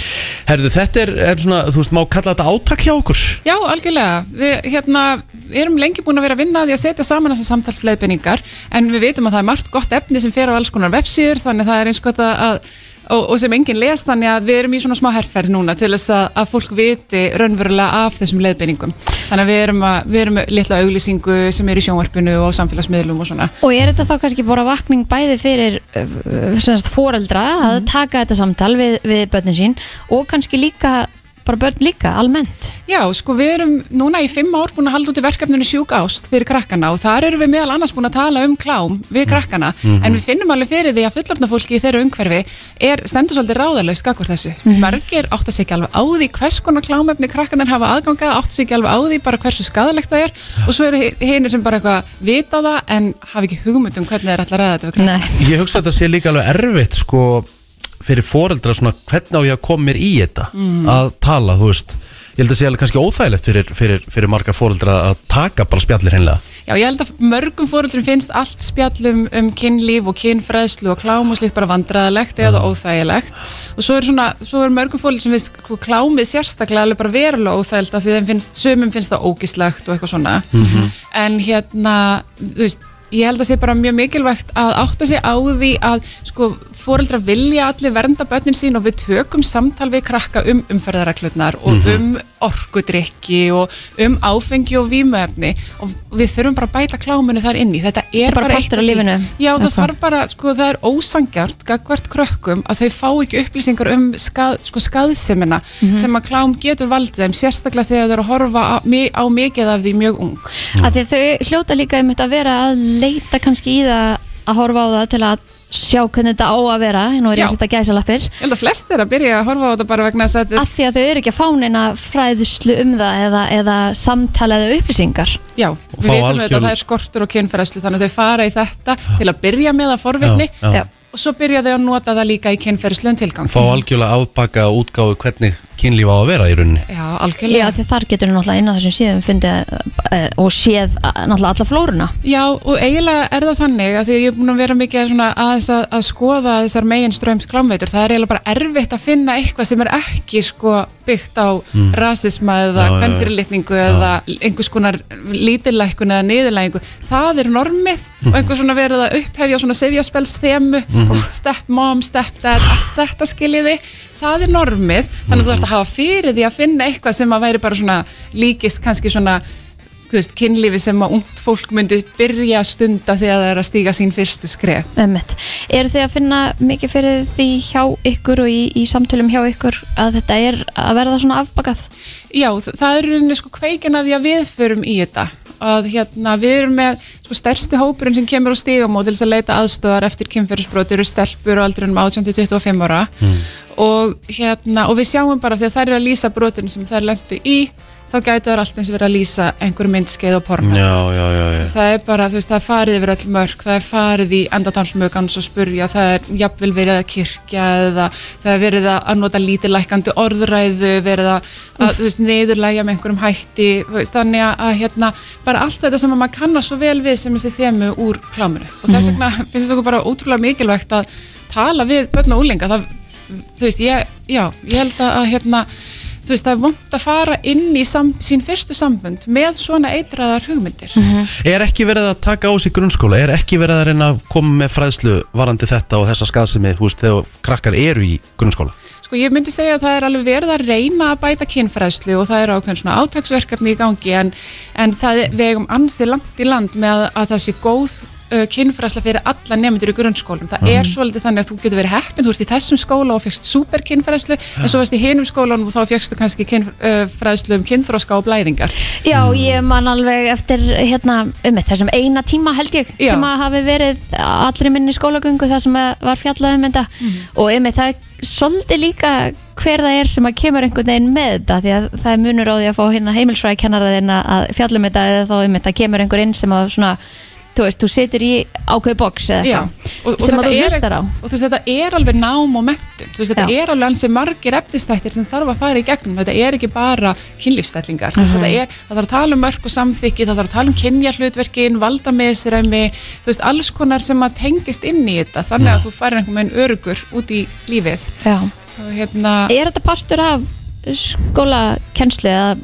Herðu, þetta er, er svona, þú veist, má kalla þetta átak hjá okkur
Já, algjörlega. Við hérna, við erum lengi búin að vera að vinna að því að setja saman þessar samtalsleiðbendingar en við veitum að það er margt gott efni sem fer á alls konar vefsíður þannig að það er eins gott að, að og, og sem enginn les þannig að við erum í svona smá herrferð núna til þess að, að fólk viti raunverulega af þessum leiðbendingum. Þannig að við erum, að, við erum með litla auglýsingu sem er í sjónvarpinu og á samfélagsmiðlum og svona.
Og er þetta þá kannski bara vakning bæði fyrir uh, sem sagt, foreldra að taka þetta samtal við, við börnin sín og kannski líka, bara börn líka, almennt
Já, sko við erum núna í fimm ár búin að halda út í verkefninu sjúk ást fyrir krakkana og þar erum við meðal annars búin að tala um klám við krakkana en við finnum alveg fyrir því að fullorðna fólki í þeirra umhverfi er stendur svolítið ráðalega skakkur þessu. Margir átta sig ekki alveg á því hvers konar klámefni krakkanar hafa aðgangað, átta sig ekki alveg á því bara hversu skadalegt það er og svo eru hinnir sem bara eitthvað vita það en hafa ekki hugmynd um hvernig það er allar að þetta við krakkana.
Nei,
Ég hugsa að þetta sé líka alveg erfitt sko fyrir foreldra svona hvernig á ég að koma mér í þetta að tala, þú veist Ég held að sé alveg kannski óþægilegt fyrir, fyrir, fyrir marga foreldra að taka bara spjallir hreinlega
Já, ég held að mörgum fóreldrum finnst allt spjallum um kynlíf og kynfræðslu og klám og slíkt bara vandræðilegt eða óþægilegt og svo er, svona, svo er mörgum fóreldrum sem finnst sko klámið sérstaklega alveg bara verulega óþægilegt af því þeim finnst, sömum finnst það ógislegt og eitthvað svona en hérna, þú veist ég held að sé bara mjög mikilvægt að átta sig á því að sko fóreldra vilja allir vernda börnin sín og við tökum samtal við krakka um umferðaraklutnar og um orkudrykki og um áfengi og vímöfni og við þurfum bara að bæta kláminu þar inni þetta er,
er bara
eitt
partur
af því-
af lífinu.
Já, það
Er það?
þarf bara, sko, það er ósangjart gagvart krökkum að þau fá ekki upplýsingar um skað, sko, skaðsemina sem að klám getur valdið þeim sérstaklega þegar þau eru að horfa á, mi- á mikið af því mjög ung
að því að þau hljóta líka einmitt að vera að leita kannski í það að horfa á það til að sjá hvernig þetta á að vera nú er ég
Já.
að setja gæsalappir
Ég held að flest er að byrja að horfa á þetta bara vegna þess að þetta
að því að þau eru ekki að fá neina fræðslu um það eða, eða samtala eða upplýsingar
Já, við
fá
veitum algjör...
algjör-
að það er skortur og kynferðslu þannig að þau fara í þetta til að byrja með að forvitni
Já.
Já.
og svo byrja þau að nota það líka í kynferðslu en tilgang.
Fá algjörlega afbaka útgáfu hvernig kynlíf á að vera í rauninni
Já,
Já,
algjörlega.
því þar getur náttúrulega inn á þessum síðum fundið eh, og séð eh, náttúrulega alla flóruna
Já, og eiginlega er það þannig að því að ég er búin að vera mikið svona aðeins að, að skoða þessar megin ströms klámveitur, það er eiginlega bara erfitt að finna eitthvað sem er ekki sko byggt á rasisma eða
Hmm. Já, já, já.
kvennfyrirlitningu eða einhvers konar lítillækun eða niðurlækingu, það er normið og einhvers svona verið að upphefja svona sefjaspels þemu, mm step mom, step dad, allt þetta skiljiði það er normið, þannig að þú ert að hafa fyrir því að finna eitthvað sem að væri bara svona líkist kannski svona þú veist, kynlífi sem að ungt fólk myndi byrja að stunda þegar það er að stíga sín fyrstu skref.
Ömmit. Eru þið að finna mikið fyrir því hjá ykkur og í, í samtölum hjá ykkur að þetta er að verða svona afbakað?
Já, þ- það er í rauninni sko kveikin að því að við förum í þetta að hérna, við erum með sko stærsti hópurinn sem kemur á stígamót til þess að leita aðstöðar eftir kynferðisbrot eru stelpur á aldrinum 18-25 ára og hérna, og við sjáum bara af því að þær eru að lýsa brotin sem þær lendu í þá gætu þær allt eins verið að lýsa einhver myndskeið og porno.
Já, já, já, já.
það er bara, þú veist, það er farið yfir öll mörk það er farið í endatámsmögans og spurja það er jafnvel verið að kirkja eða það er verið að að nota lítilækandi orðræðu, verið að, að þú veist, neyðurlægja með einhverjum hætti þú veist, þannig að, að hérna, bara allt þetta sem að maður kannast svo vel við sem þessi þemu úr kláminu og þess vegna finnst okkur bara ótrúlega mikilvægt að tala við börn og úlinga það, þú veist, ég, já, ég held að, að hérna, þú veist, það er vond að fara inn í sam, sín fyrstu sambund með svona eitraðar hugmyndir
Er ekki verið að taka á sig grunnskóla? Er ekki verið að reyna að koma með fræðslu varandi þetta og þessa skaðsemi, þú veist, þegar krakkar eru í grunnskóla?
Sko ég myndi segja að það er alveg verið að reyna að bæta kynfræðslu og það er ákveðin svona átagsverkefni í gangi en, en það er- við eigum ansi langt í land með að það sé góð uh, kynfræðsla fyrir alla nefndur í grunnskólum það er svolítið þannig að þú getur verið heppin þú ert í þessum skóla og fegst super kynfræðslu en svo varst í hinum skólanum og þá fegstu kannski kynfræðslu um kynþróska og blæðingar
Já, ég man alveg eftir hérna, um eitt, þessum eina tíma held ég
Já.
sem að hafi verið allri minni skólagöngu það sem að var fjallað um þetta og um eitt, það er svolítið líka hver það er sem að kemur einhvern veginn með þetta því að það er munur á því að fá hérna heimilsfræði kennaraðinn að fjalla um þetta eða þá um eitt, það kemur einhver inn sem að svona þú veist, þú situr í ákveð box eða
Já,
eitthvað
og, og
sem að
þetta
þú
er-
hlustar á
og þú veist þetta er alveg nám og menntun þú veist þetta
Já.
er alveg hansi margir eftirstættir sem þarf að fara í gegnum, þetta er ekki bara kynlífstællingar, þú veist þetta er það þarf að tala um mörg og samþykki, það þarf að tala um kynjahlutverkin, valdamisræmi þú veist alls konar sem að tengist inn í þetta, þannig að þú farir einhvern veginn örugur út í lífið
Já.
og hérna,
Er þetta partur af skólakenslu eða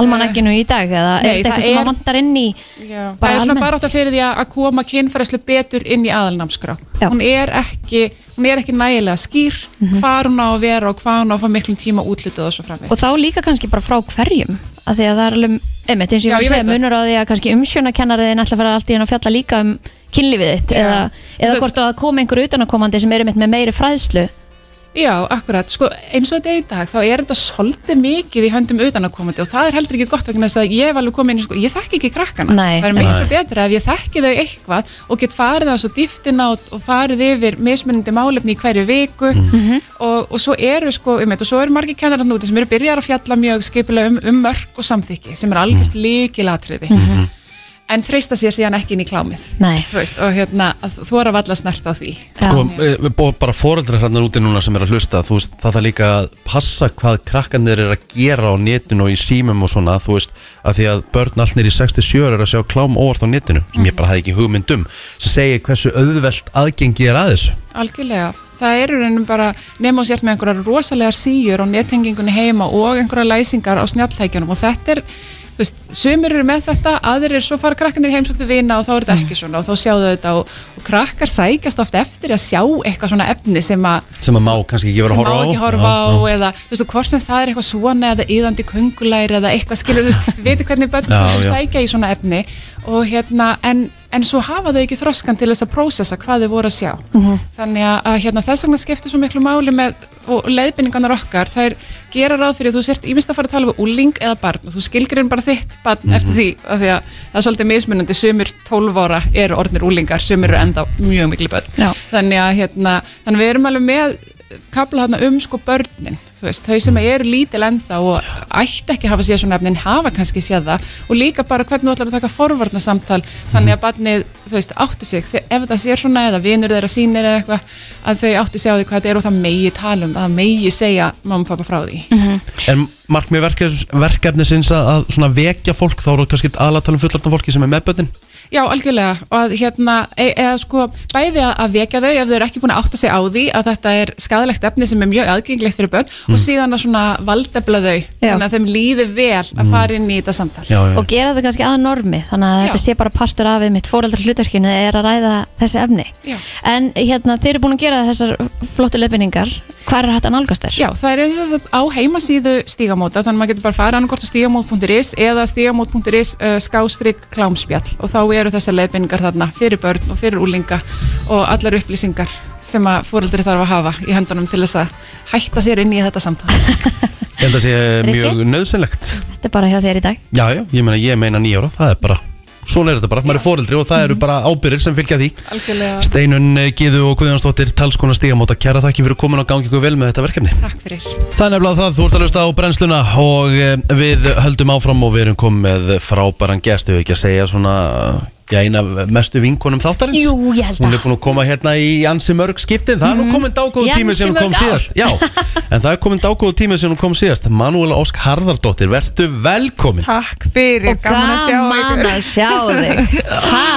almanakinu í dag eða
Nei,
er þetta eitthvað
það
sem
er-
að vantar inn í
Já,
Bara
það er svona
almennt.
bara átt fyrir því að að koma kynfærslu betur inn í aðalnámskrá
Já. Mhm.
hún er, ekki, hún er ekki nægilega skýr hvar hún á að vera og hvað hún á að fá miklum tíma útlitið og svo framvegis
og þá líka kannski bara frá hverjum að því að það er alveg, einmitt eins og
Já,
ég var að
ég
segja
veit það.
munur á því að kannski umsjónakennariðin ætla að fara allt í henn að fjalla líka um kynlífið þitt eða, eða
Svo-
hvort að það komi einhver utanakomandi sem eru mitt með meiri fræðslu
Já, akkurat, sko, eins og þetta er í dag þá er þetta svolítið mikið í höndum utanakomandi og það er heldur ekki gott vegna þess að ég hef alveg komið inn, í, sko, ég þekki ekki krakkana
Nei,
það er miklu betra ef ég þekki þau eitthvað og get farið það svo dýftina og, og farið yfir mismunandi málefni í hverju viku og, og svo eru sko, um og svo eru margir kennararn úti sem eru byrjar að fjalla mjög skipilega um, um mörg og samþykki sem er algjört líkilatriði en þreista sér síðan ekki inn í klámið
Nei.
Þú veist, og hérna, þú er að valla snert á því
Sko, eh, við bóðum bara foreldrar hérna úti núna sem er að hlusta þú veist, það er líka að passa hvað krakkanir er að gera á netinu og í símum og svona, þú veist, að því að börn allir í 67 eru að sjá klám óvart á netinu sem ég bara hafði ekki hugmynd um sem segir hversu auðvelt aðgengi er að þessu
Algjörlega, það eru reynum bara nema og sért með einhverjar rosalega síjur á nettengingunni heima og einhverjar læsingar á snjalltækjunum og þetta er þú veist, sumir eru með þetta, aðrir eru svo fara krakkanir heimsóktu vina og þá er þetta ekki svona og þá sjáðu þetta og, og krakkar sækjast oft eftir að sjá eitthvað svona efni sem að
sem að má kannski ekki vera
sem
að
má
horfa á
ekki horfa á eða þú veist, og hvort sem það er eitthvað svona eða íðandi kungulæri eða eitthvað skilur, þú veist, veitir hvernig börn
Já,
sem
já.
sækja í svona efni og hérna, en, en svo hafa þau ekki þroskan til þess að prósessa hvað þau voru að sjá þannig að, að hérna, þess vegna skiptir svo miklu máli með, og leiðbynningarnar okkar þær gera ráð fyrir að þú sért ímest að fara að tala við úling eða barn og þú skilgrinn bara þitt barn
Mhm.
eftir því, af því að það er svolítið mismunandi, sumir 12 ára eru orðnir úlingar, sumir eru enda mjög miklu börn,
Já.
þannig að hérna, þannig að við erum alveg með kapla þarna um sko börnin þú veist, þau sem eru lítil ennþá og ætti ekki að hafa séð svona efnin hafa kannski séð það og líka bara hvernig þú ætlar að taka forvarna samtal þannig að barnið, þú veist, átti sig Þe- ef það sér svona eða vinur þeirra sínir eða eitthvað að þau átti sig á því hvað þetta er og það megi tala um, að það megi segja mamma og pappa frá því
En markmið verkef- verkefnisins að, að svona vekja fólk þá eru kannski aðlega tala um fullartan fólki sem er með börnin
Já, algjörlega og að hérna, e eða sko bæði að, að vekja þau ef þau eru ekki búin að átta sig á því að þetta er skadalegt efni sem er mjög aðgengilegt fyrir börn og síðan að svona valdefla þau
Já.
þannig að þeim líði vel að fara inn í þetta samtal
já, já.
og gera þetta kannski að normi þannig að
Já.
þetta sé bara partur af við mitt fóreldrar hlutverkinu er að ræða þessi efni
Já.
en hérna þeir eru búin að gera þessar flottu leifinningar hvað er hægt að nálgast þér?
Já, það er eins og þess að á heimasíðu stígamóta, þannig að maður getur bara farið annarkort á stígamót.is eða stígamót.is uh, skástrygg klámspjall og þá eru þessar leiðbynningar þarna fyrir börn og fyrir úlinga og allar upplýsingar sem að fóreldri þarf að hafa í höndunum til þess að hætta sér inn í þetta samtal.
Ég held að sé mjög
Rikki?
nöðsynlegt
Þetta er bara hjá þér í dag
Já, já, ég meina ég meina nýjára, það er bara Svona er þetta bara, maður er foreldri og
Mhm.
það eru bara ábyrðir sem fylgja því
Algjörlega.
Steinun, eh, Gíðu og Guðjónsdóttir, talskona stígamóta Kæra þakki fyrir komin og gangi ykkur vel með þetta verkefni
Takk fyrir.
Það er nefnilega það, þú ert að hlusta á brennsluna og eh, við höldum áfram og við erum komið með frábæran gest ef við ekki að segja svona já, eina af mestu vinkonum þáttarins
Jú, ég held
Hún
að.
er búin að koma hérna í ansi mörg skiptin það er nú komin dágóðu tími
Í
sem hún
ansi
kom
mörg ár.
síðast Já, en það er komin dágóðu tími sem hún kom síðast Manuela Ósk Harðardóttir, vertu velkomin
Takk fyrir,
og gaman að sjá þig Hæ?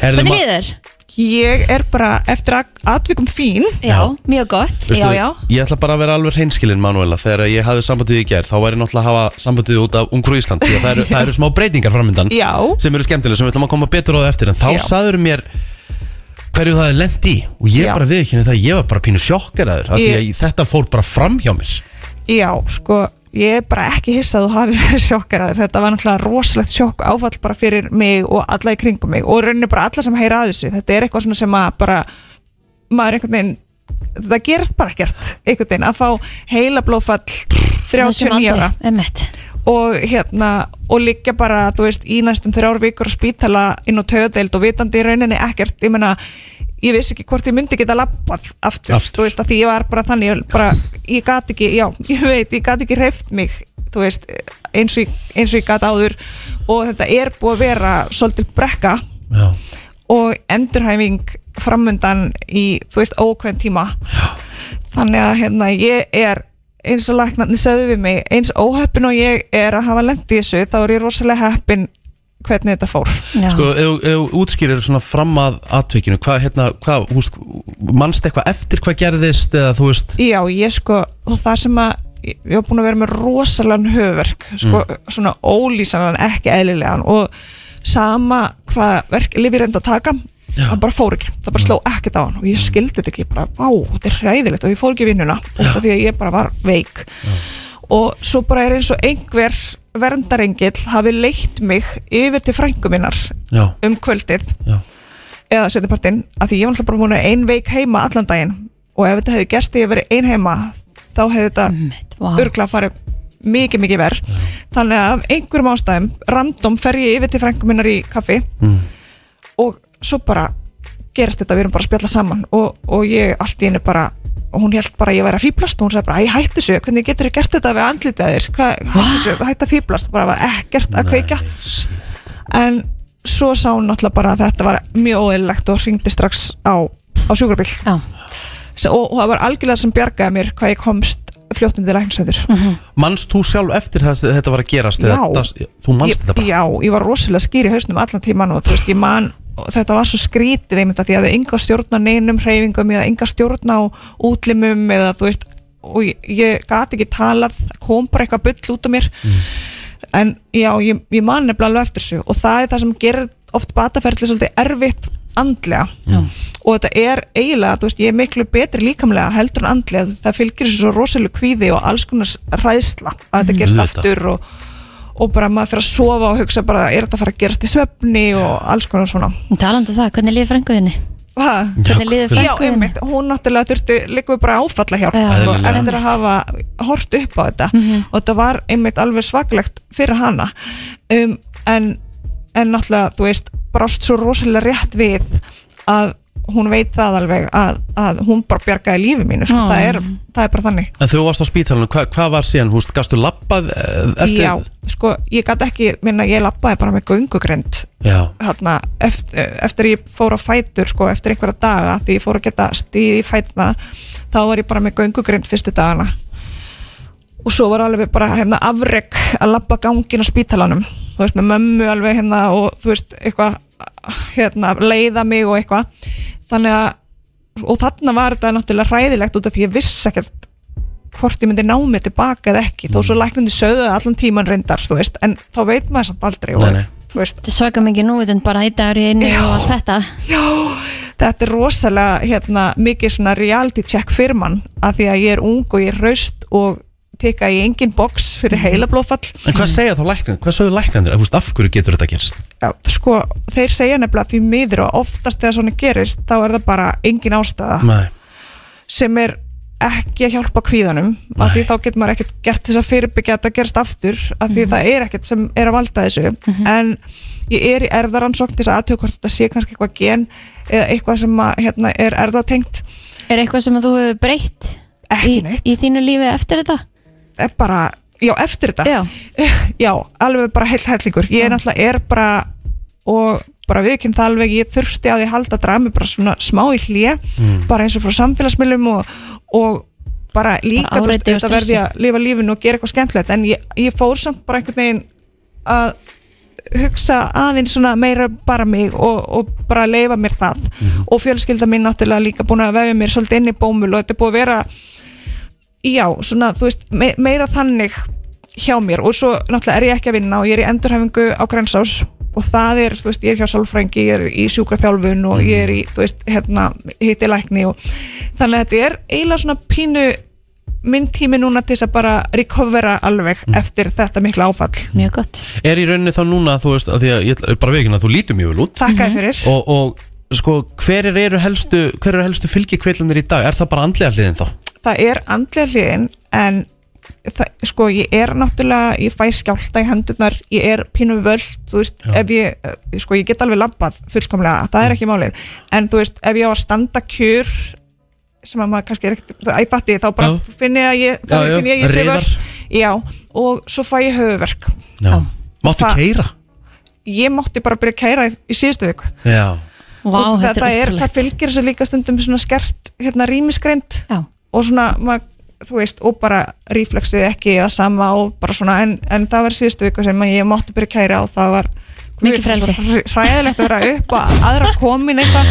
Herðu,
Hvernig
ma-
líður?
Ég er bara eftir að atvikum fín
Já, mjög gott
Veistu,
Já, já.
Ég ætla bara að vera alveg hreinskilinn Manuela Þegar ég hafði sambandið í gær Þá væri náttúrulega að hafa sambandið út af Ungrú Ísland Því að það eru, það eru smá breytingar framöndan
Já.
Sem eru skemmtilega, sem við ætlum að koma betur á það eftir En þá
Já.
sagður mér hverju það er lent í Og ég
Já.
bara við ekki það Ég var bara pínu sjokkeraður af Því að
Ég-
þetta fór bara fram hjá mér
Já, sko, ég er bara ekki hissað að þú hafi verið sjokkaraður þetta var náttúrulega rosalegt sjokk áfall bara fyrir mig og alla í kringum mig og í rauninni bara alla sem heyra að þessu þetta er eitthvað svona sem að bara maður einhvern veginn það gerist bara ekkert einhvern veginn að fá heila blóðfall 39 ára
Emmett
og hérna og liggja bara, þú veist, í næstum þrjár vikur að spítala inn á töðdeild og vitandi í rauninni ekkert, ég meina ég vissi ekki hvort ég myndi geta labbað aftur,
Aftur.
þú veist, að því ég var bara þannig ég, bara, ég gat ekki, já, ég veit, ég gat ekki reyft mig, þú veist eins og, ég- eins og ég gat áður og þetta er búið að vera svolítið brekka
Já.
og endurhæfing framundan í, þú veist, ókveðin tíma Já. þannig að hérna ég er eins og læknarnir sögðu við mig eins óheppin og ég er að hafa lent í þessu þá er ég rosalega heppin hvernig þetta fór
Já.
Sko, ef ef þú útskýrir svona fram að atveikinu, hvað, hérna, hvað, húst, mannst eitthvað eftir hvað gerðist eða þú veist,
Já, ég sko, og það sem að ég ég var búin að vera með rosalan höfverk sko, svona ólýsanlan, ekki eðlilegan og sama hvað verk lifið reyndi að taka
Já.
það bara fór ekki, það bara sló ekkert á hann og ég skildi þetta ekki, ég bara, vá, þetta er hræðilegt og ég fór ekki í vinnuna, út af því að ég bara var veik og svo bara er eins og einhver verndarengill hafi leitt mig yfir til frængu minnar
já,
um kvöldið
já,
eða setjapartinn að því ég var alltaf bara múin að ein veik heima allan daginn og ef þetta hefði gerst þegar ég verið ein heima þá hefði þetta
Einmitt, vá.
örgla farið mikið mikið verð þannig að af einhverjum ástæðum random fer ég yfir til frængum minnar í kaffi
Mm.
og svo bara gerist þetta, við erum bara að spjalla saman og, og ég allt í henni bara og hún held bara að ég væri að fýblast og hún sagði bara, æ, hættu svo, hvernig getur þið gert þetta við andlitaðir, hættu svo, hættu að fýblast bara var ekkert að kveika en svo sá hún náttúrulega bara að þetta var mjög óeðlilegt og hringdi strax á, á sjúkrabíl
Já,
S- og, og það var algjörlega sem bjargaði mér hvað ég komst fljóttandi læknisöndur
mannst þú sjálf eftir það, þetta var að gerast eða,
Já.
það, þú mannst þetta bara,
Já, ég var rosalega skýr í hausnum allan tíman og þú veist, ég man og þetta var svo skrítið einmitt að því að það enga stjórna neinum hreyfingum eða enga stjórna á útlimum eða þú veist og ég, ég gat ekki talað það kom bara eitthvað bull út af mér
Mm.
en já, ég, ég man nefnilega alveg eftir þessu og það er það sem gerir oft bataferðli svolítið erfitt andlega og þetta er eiginlega, þú veist, ég er miklu betri líkamlega heldur en andlega það fylgir þessu svo rosalega kvíði og alls konar ræðsla að þetta gerist
Mm. Auðvitað.
aftur og, og bara maður fyrir að sofa og hugsa bara, er þetta að fara að gerast í svefni og alls konar svona
talandi um það, hvernig líður frænguðinni?
ha?
Hvernig líður
Já,
frænguðinni?
einmitt, hún náttúrulega þurfti líka bara áfalla hjálp
Já.
sko,
Eðlilega. Mhm.
eftir að hafa hort upp á þetta og þetta var einmitt alveg svaklegt fyrir hana um, en, en náttúrulega, þú veist brást svo rosalega rétt við að hún veit það alveg að, að hún bara bjargaði lífi mínu sko,
Mm.
það, er, það er bara þannig
en þegar þú varst á spítalunum, hvað, hvað var síðan, húst, gastu labbað eh, eftir,
Já, sko, ég gat ekki, minna, ég lappaði bara með göngugrind
já,
hérna, eftir, eftir ég fór á fætur sko, eftir einhverja daga því ég fór að geta stíð í fætuna þá var ég bara með göngugrind fyrstu dagana og svo var alveg bara hérna, afrek að labba gangin á spítalanum þú veist með mömmu alveg hérna og þú veist eitthvað hérna, leiða mig og eitthvað þannig að og þarna var þetta náttúrulega ræðilegt út af því ég vissi ekkert hvort ég myndi ná mig tilbaka eða ekki þó svo læknandi sögðu það allan tíman reyndar þú veist, en þá veit maður samt aldrei og,
Nei, nei.
þú veist,
Þetta er svaka mikið núvitund bara í dagur í einu og allt þetta
Já, þetta er rosalega hérna, mikið svona reality check fyrir mann að því að ég er ung og ég er raust og teka í engin box fyrir heila blóðfall
en hvað segja þá læknir, hvað sögðu læknir, húst, af hverju getur þetta gerst,
Já, sko, þeir segja nefnilega því miður og oftast þegar svona gerist þá er það bara engin ástæða
nei,
sem er ekki að hjálpa kvíðanum að því þá getur maður ekkert gert þess að fyrirbyggja að þetta gerst aftur að því það er ekkert sem er að valda þessu en ég er í erðaransókn til þess að aðtöku hvort þetta sé kannski eitthvað gen eða eitthvað sem að, hérna, er erðatengt
Er eitthvað sem að þú hefur breytt í,
Ekki neitt.
í þínu lífi eftir þetta?
er bara, já eftir þetta
Já.
Já, alveg bara heilt hellingur ég er náttúrulega er bara og bara viðkynnt það alveg, ég þurfti á því að halda drami bara svona smá í hlje bara eins og frá samfélagsmiðlum og, og bara líka
Bara
þú veist,
áreiti og
þetta verði að lifa lífinu og gera eitthvað skemmtilegt en ég, ég fór samt bara einhvern veginn að hugsa aðeins svona meira bara mig og, og bara leifa mér það og fjölskylda mín náttúrulega líka búin að vefja mér svolítið inn í bómul og þetta er búið að vera já, svona, þú veist, me meira þannig hjá mér og svo náttúrulega er ég ekki að vinna og ég er í endurhæfingu á Grensás og það er, þú veist, ég er hjá sálfrængi ég er í sjúkraþjálfun og ég er í þú veist, hérna, hitti lækni og þannig að þetta er eiginlega svona pínu minn tími núna til þess að bara recovera alveg eftir þetta mikla áfall
mjög gott
Er í rauninni þá núna, þú veist, að því að ég ætla bara veginn að þú lítur mjög vel út
Þakkaði fyrir
og, og sko, hverir eru helstu, hver eru helstu fylgikvillanir í dag? Er það bara andlega hliðin þá?
það er andlega hliðin en það, sko ég er náttúrulega ég fæ skjálta í hendurnar ég er pínu völd, þú veist ef ég, eh, sko ég get alveg labbað fullkomlega það
Mm.
er ekki málið, en þú veist ef ég á að standa kjur sem að maður kannski er ekkert æfatti þá bara
Já.
finn ég að ég,
Já,
þá
já,
finn ég, að ég sé
reiðar.
völt. já, og svo fæ ég höfuverk
Já. Máttu
Það-
keira?
ég mátti bara byrja að kæra í, í síðustu viku
Já.
Vá,
og það,
þetta
það, er,
er
það
ótrúlegt
fylgir þessu líka stundum svona skert hérna rýmisgreind
Já.
og svona mað, þú veist, og bara ríflexið ekki eða sama og bara svona en, en það var síðustu viku sem að ég mátti byrja að kæra og það var
Mikið
Guð,
frelsi.
svo hr- hræðilegt að vera upp að aðra komin eitthvað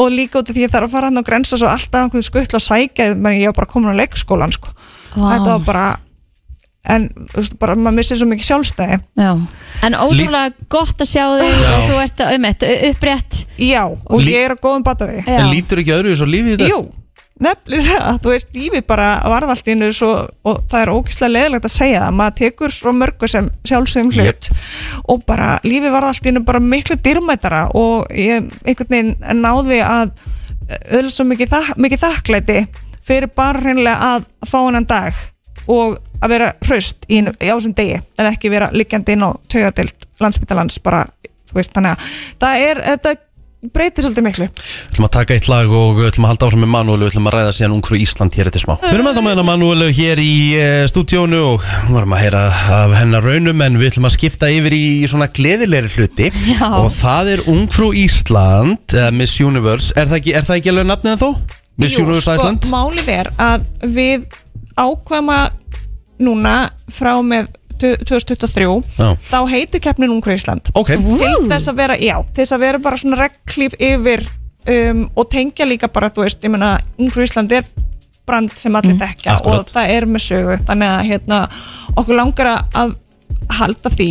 og líka út af því ég þarf að fara hann og grensa svo alltaf einhvern skuttla að sækja menn ég var bara komin á leikskólan sko.
Vá.
þetta var bara en þú veist, bara maður missir svo mikið sjálfstæði
Já. en ótrúlega gott að sjá þig
Já.
og þú ert um eitt upprétt
já, og
Lí-
ég er á góðum batavegi
Já.
En lítur ekki öðru í þessu lífið þetta?
Jú, nefnilega, þú veist, lífið bara varð allt í einu svo, og það er ógeðslega leðilegt að segja það, maður tekur svo mörgu sem sjálfsögum hlut og bara lífið varð allt í einu bara miklu dýrmætara og ég einhvern veginn náði að öll svo mikið, þak, mikið þakklæti fyrir bara hreinlega að fá hennan dag og að vera hraust í, einu- á þessum degi en ekki vera liggjandi inn á taugadild landsbytalans bara, þú veist, þannig að það er, þetta breytir svolítið miklu
Við ætlum að taka eitt lag og við ætlum að halda áfram með Manuelu Við ætlum að ræða síðan ungfrú Ísland hér eftir smá Við erum ennþá með hennar Manuelu hér í uh, stúdíónu og við erum að heyra af hennar raunum en við ætlum að skipta yfir í svona gleðilegri hluti
Já.
og það er ungfrú Ísland eða Miss Universe, er það ekki, er það ekki alveg nafnið en þó? Miss
Jú,
Universe
sko,
Iceland?
Málið er að við ákvæma núna frá með tu- 2023
Já.
þá heitir keppnin Ungur Ísland
Ok,
til þess að vera, já, til þess að vera bara svona reglíf yfir um, og tengja líka bara, þú veist, ég meina Ungur Ísland er brand sem allir dekja
Mm, Akkurat.
og það er með sögu, þannig að hérna, okkur langar að- að halda því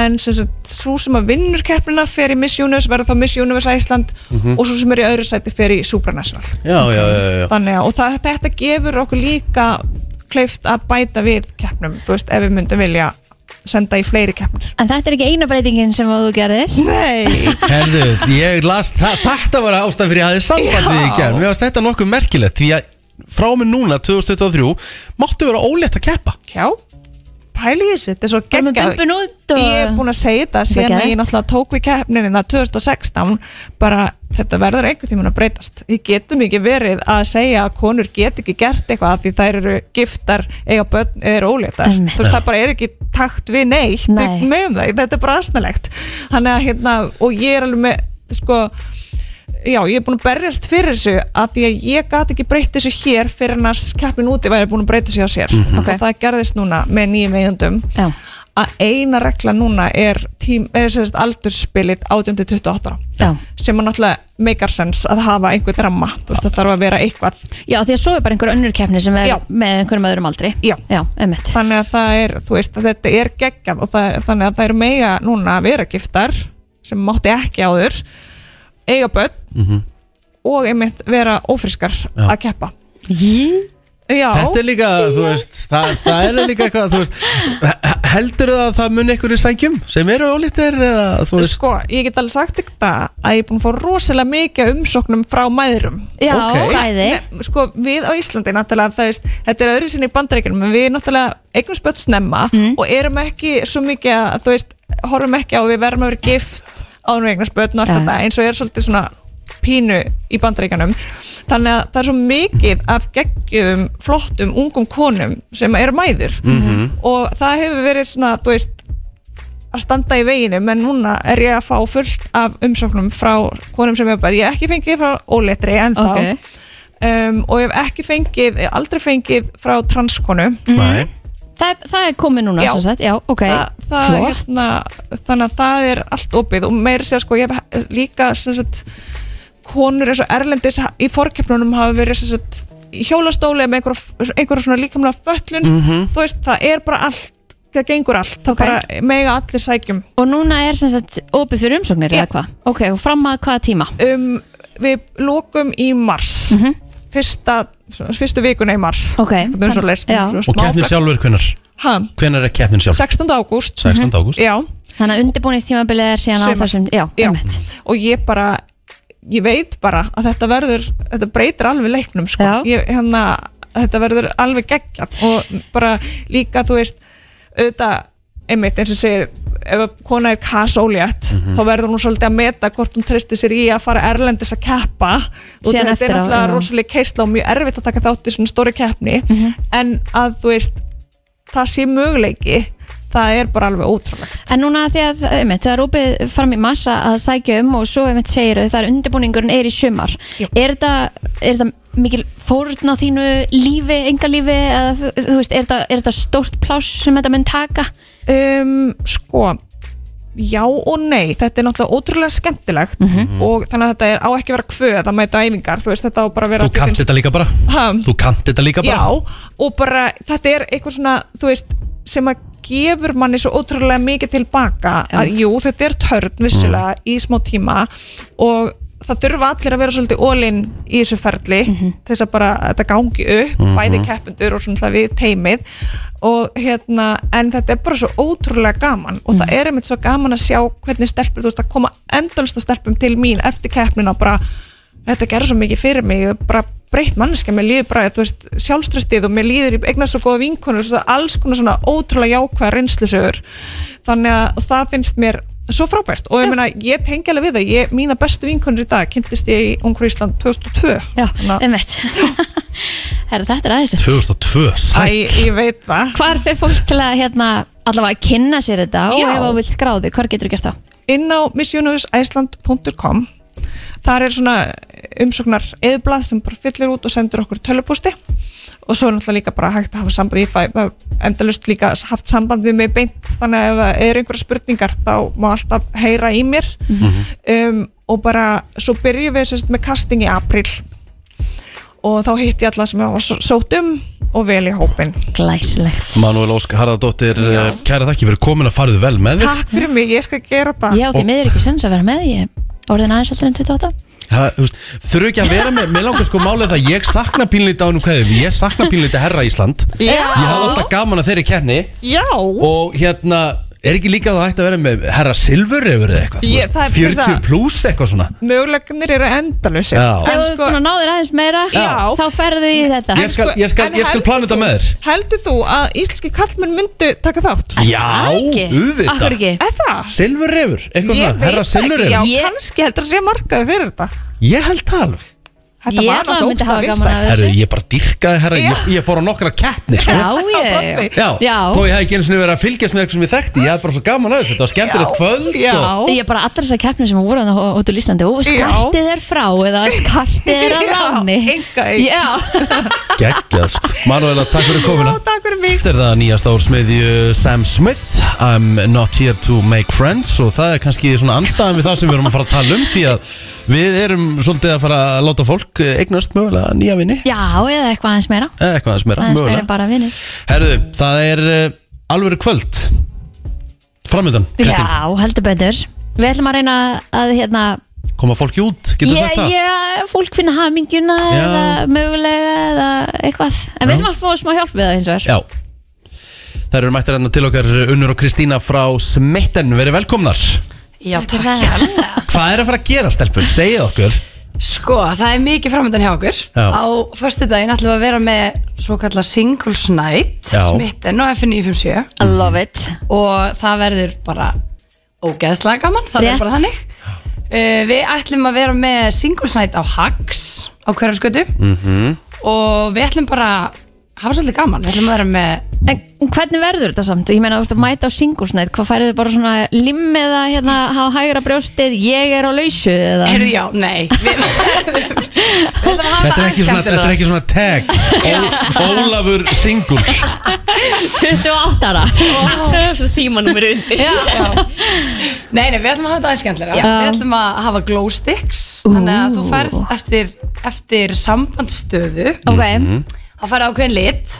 en sem sagt, svo sem að vinnur keppnina fer í Miss Universe, verður þá Miss Universe Æsland
Mhm.
og svo sem er í öðru sæti fer í Supranational
já, já, já, já.
þannig að, og það, þetta gefur okkur líka kleift að bæta við keppnum, þú veist, ef við myndum vilja senda í fleiri keppnir
en þetta er ekki eina breytingin sem að þú gerðir
Nei,
Herðu, ég las, þa þetta var ástæð fyrir að ég hafði samband við í gerð Mér varst þetta nokkuð merkilegt því að frá og með núna 2023 máttu vera ólétt að keppa
já pæli í þessu, þetta er svo
bara með
geggjað
bumbun út og
Ég er búin að segja þetta
Þetta er
síðan að
geðveikt.
ég náttúrulega tók við keppninina 2016 bara þetta verður einhvern tímann að breytast Við getum ekki verið að segja að konur get ekki gert eitthvað af því þær eru giftar eiga börn eru óléttar
Einmitt.
þú veist það bara er ekki takt við neitt
Nei.
Við megum það, þetta er bara aðsnalegt þannig að hérna og ég er alveg með sko Já, ég er búin að berjast fyrir þessu að því að ég gat ekki breytt þessu hér fyrir en að keppin úti væri búin að breyta þessu á sér
Mhm. Ok.
og það gerðist núna með nýjum eigundum
Já.
að eina regla núna er, tím, er sem sagt aldursspilið 18-28
Já.
ára. sem er náttúrulega meikar sens að hafa einhver dramma þú veist það þarf að vera eitthvað
já, því að svo er bara einhver önnur keppni sem er
Já.
með einhverjum öðrum aldri
Já.
já einmitt.
þannig að það er, þú veist, að þetta er geggjað og það er, þannig að það eru mega núna að vera giftar sem mátti ekki áður eiga börn og einmitt vera ófriskar að keppa Já,
Þetta er líka, þú veist, það, það er líka eitthvað, þú veist Heldur það að það muni einhverju sækjum sem eru ólítir eða, þú veist
sko, ég get alveg sagt ekki það að ég er búin að fá rosalega mikið af umsóknum frá mæðrum
já,
Ok.
bæði
Nei, sko, við á Íslandi náttúrulega það veist, þetta er öðru sinni í bandaríkjunum en við náttúrulega eignum spött snemma
Mm.
og erum ekki svo mikið að þú veist, horfum ekki á að við verðum að vera gift áður með eignum spött og allt
Já.
þetta eins og er svolítið svona pínu í bandaríkjunum þannig að það er svo mikið af geggjum flottum ungum konum sem eru mæður og það hefur verið svona, þú veist að standa í veginu, menn núna er ég að fá fullt af umsóknum frá konum sem hefur bæði, ég hef ekki fengið frá óléttri en þá
Ok.
um, og hef ekki fengið, aldrei fengið frá transkonu
Nei,
það, er- það er komið núna
Já.
sem sagt. já, ok,
Þa, það,
flott
hérna, þannig að það er allt opið og meir sér sko, ég hef líka sem sagt, konur eins og erlendis í forkeppnunum hafa verið sem sagt, í hjólastóli með einhverja einhver svona líkamlega föllun þú veist, það er bara allt það gengur allt, það
Mhm. Ok.
bara mega allir sækjum
Og núna er sem sagt opið fyrir umsóknir eða hvað? Ok, og fram að hvaða tíma?
um, við lokum í mars fyrsta, svona, fyrstu vikuna í mars
Mhm. Ok.
Einhvern veginn svoleiðis.
Já.
Svona
Og keppnin
smáflakk.
sjálfur hvenar?
Ha,
Hvenar er keppnin sjálfur?
16. ágúst Mhm.
16. ágúst
Já,
Þannig að undirbúningstímabilið er síðan á
Sumar.
þessum Já,
já
einmitt
Og ég bara Ég veit bara að þetta verður Þetta breytir alveg leiknum sko.
Já.
ég, hérna, Þetta verður alveg geggjað Og bara líka þú veist Auðvitað einmitt eins og segir ef að kona er kasólétt
Mhm.
þá verður hún svolítið að meta hvort hún tristir sér í að fara erlendis að keppa og þetta
Síðan eftir
er
á,
náttúrulega
já.
rosalega keisla og mjög erfitt að taka þátt í svona stóri keppni
Mhm.
en að þú veist það sé möguleiki það er bara alveg ótrúlegt
En núna því að, einmitt, það er opið fram í massa að sækja um og svo einmitt segir þau það er undirbúningurinn er í sumar
Jú.
er þetta, er þetta mikil fórn á þínu lífi, engalífi eða þú, þú veist, er þetta, er þetta stórt pláss sem þetta mun taka?
Um, sko, já og nei, þetta er náttúrulega ótrúlega skemmtilegt
Mhm.
og þannig að þetta er, á ekki að vera kvöð að mæta á æfingar, þú veist þetta á bara að vera
Þú kannt þetta líka bara
Ha?
Þú kannt þetta líka
Já,
bara
og bara þetta er eitthvað svona, þú veist, sem að gefur manni svo ótrúlega mikið tilbaka að jú, þetta er törn vissulega
Mm.
í smá tíma og það þurfa allir að vera svolítið ólinn í þessu ferli þess að bara þetta gangi upp,
Mhm.
bæði keppendur og svona við teimið og hérna, en þetta er bara svo ótrúlega gaman og það er einmitt svo gaman að sjá hvernig stelpur, þú veist, að koma endalist að stelpum til mín eftir keppnina og bara þetta gerir svo mikið fyrir mig, ég er bara breytt mannskja, mér líður bara, þú veist, sjálfströstið og mér líður, ég eignar svo góða vinkonur svo alls konar svona ótrúlega jákvæða reynslusögur, þannig að það finnst mér svo frábært og ég meina ég tengi alveg við það, ég, mína bestu vinkonur í dag kynntist ég í Ungur Ísland 2002
Já,
Þannig að-
einmitt Herra, þetta er aðeinslega
2002,
Æ,
sæk
ég veit það
Hvar fer fólk til að, hérna, allavega að kynna sér þetta og
Já.
ef þú vilt skráði, hvar getur þú gert það?
inn á missuniverseisland.com þar er svona umsóknar eðblað sem bara fyllir út og sendur okkur tölupústi og svo er náttúrulega líka bara hægt að hafa samband ég fæ- hef endalust líka haft samband við mig beint þannig að ef það eru einhverja spurningar þá má alltaf heyra í mér um, og bara svo byrjum við sérst, með casting í april og þá hitti ég alla sem ég var s- sótt um og vel í hópin
Glæsilegt
Manuel Ósk Harðardóttir, eh, kæra þakki fyrir komin að farið vel með þig
Takk fyrir mig, ég skal gera það
Já, því miður ekki sens að vera með, ég orðin aðeins heldur en 28
Ha, þú veist, Þurfu ekki að vera með, mér langar sko málið það að Ég sakna pínlítið á hennu kveðum Ég sakna pínlítið herra Ísland Ég hafði alltaf gaman að þeirri keppni
Já.
Og hérna, er ekki líka þá hægt að vera með herra Silfur yfir eða eitthvað þú
Ég-
veist,
það er fyrir
40
það.
pluss eitthvað svona
mögulegnir eru sko, endalusir
Já.
Ef þú ert búin að ná þér aðeins meira,
Já.
þá ferðu í þetta
Ég skal, ég skal,
Sko, En
ég skal
heldur
plana þetta
þú-
með þér
Heldur þú að íslenski kallmenn myndu taka þátt?
Já,
Akkur
auðvitað
ekki
Er það?
Silfur yfir, eitthvað
Ég
Sko, svona,
veit
herra
það
Silfur
ekki, já,
yfir
Ég-
kannski heldur að sé markaði fyrir þetta
Ég held það alveg
Þetta
Ég
var
ætla að myndi
náttúrulega
hafa
ógst
gaman
að
að
vinsæl
Herru, ég bara dyrkaði herra, ég, ég fór á nokkra keppni sko.
Já, ég
Já, þó ég hef ekki einu sinni verið að fylgjast með eitthvað sem ég þekkti Ég hef bara svo gaman að þessu, þetta var skemmtilegt kvöld og...
Já,
Ég bara allar þessar keppnir sem voru þarna út úr Íslandi og skartið er frá eða skartið er að
Já,
láni
einkaeign.
Já,
Geggjað, sko Manuela, takk fyrir komuna
Já, takk fyrir mig
Þetta er það nýjasta úr smiðju Sam Smith I'm not here to make friends og það er kannski svona anstæðan við það sem við erum að fara að tala um því að við erum svolítið að fara að láta fólk eh, eignast mögulega nýja vinni
já, eða eitthvað aðeins meira
eða eitthvað aðeins meira,
aðeins meira en
mögulega
bara vinir
Herðu, það er eh, alvöru kvöld framöndan, Kristín,
Já, heldur betur Við ætlum að reyna að hérna
koma fólki út getur
ég,
sagt það?
ég, fólk finna hamingjuna
Já.
eða mögulega eða eitthvað En við ætlum að fá smá hjálp við það eins og er
Já Það eru mættir hérna til okkar Unnur og Kristína frá Smitten, verið velkomnar
Já, takk.
Hvað er að fara að gera stelpur? Segið okkur
Sko, það er mikið framöndan hjá okkur
Já.
Á förstu daginn ætlum við að vera með svo kallar Singles Night
Já.
Smitten og F957
I love it
og það verður bara ógeðslega gaman, það
Rétt.
verður bara þannig uh, Við ætlum að vera með Singles Night á Hags á hverjafskötu
Mhm.
-hmm. og við ætlum bara að hafa svolítið gaman við ætlum að vera með
En hvernig verður þetta samt? Ég meina, þú ert að mæta á singlesnætt, hvað færið þið bara svona limmið að hérna hafa hægra brjóstið, ég er á lausu eða?
Heyrðu, já, nei Við, við ætlum að hafa
Þetta er ekki svona, þetta er
aðskemmtilega.
ekki svona tag Ó- Ólafur Singur
28 ára.
Svo símanúmer undir
Nei, nei, við ætlum að hafa þetta aðeins skemmtilega Við ætlum að hafa glow sticks Þannig að þú færð eftir, eftir sambandstöðu
Ok,
Þá færð ákveðin lit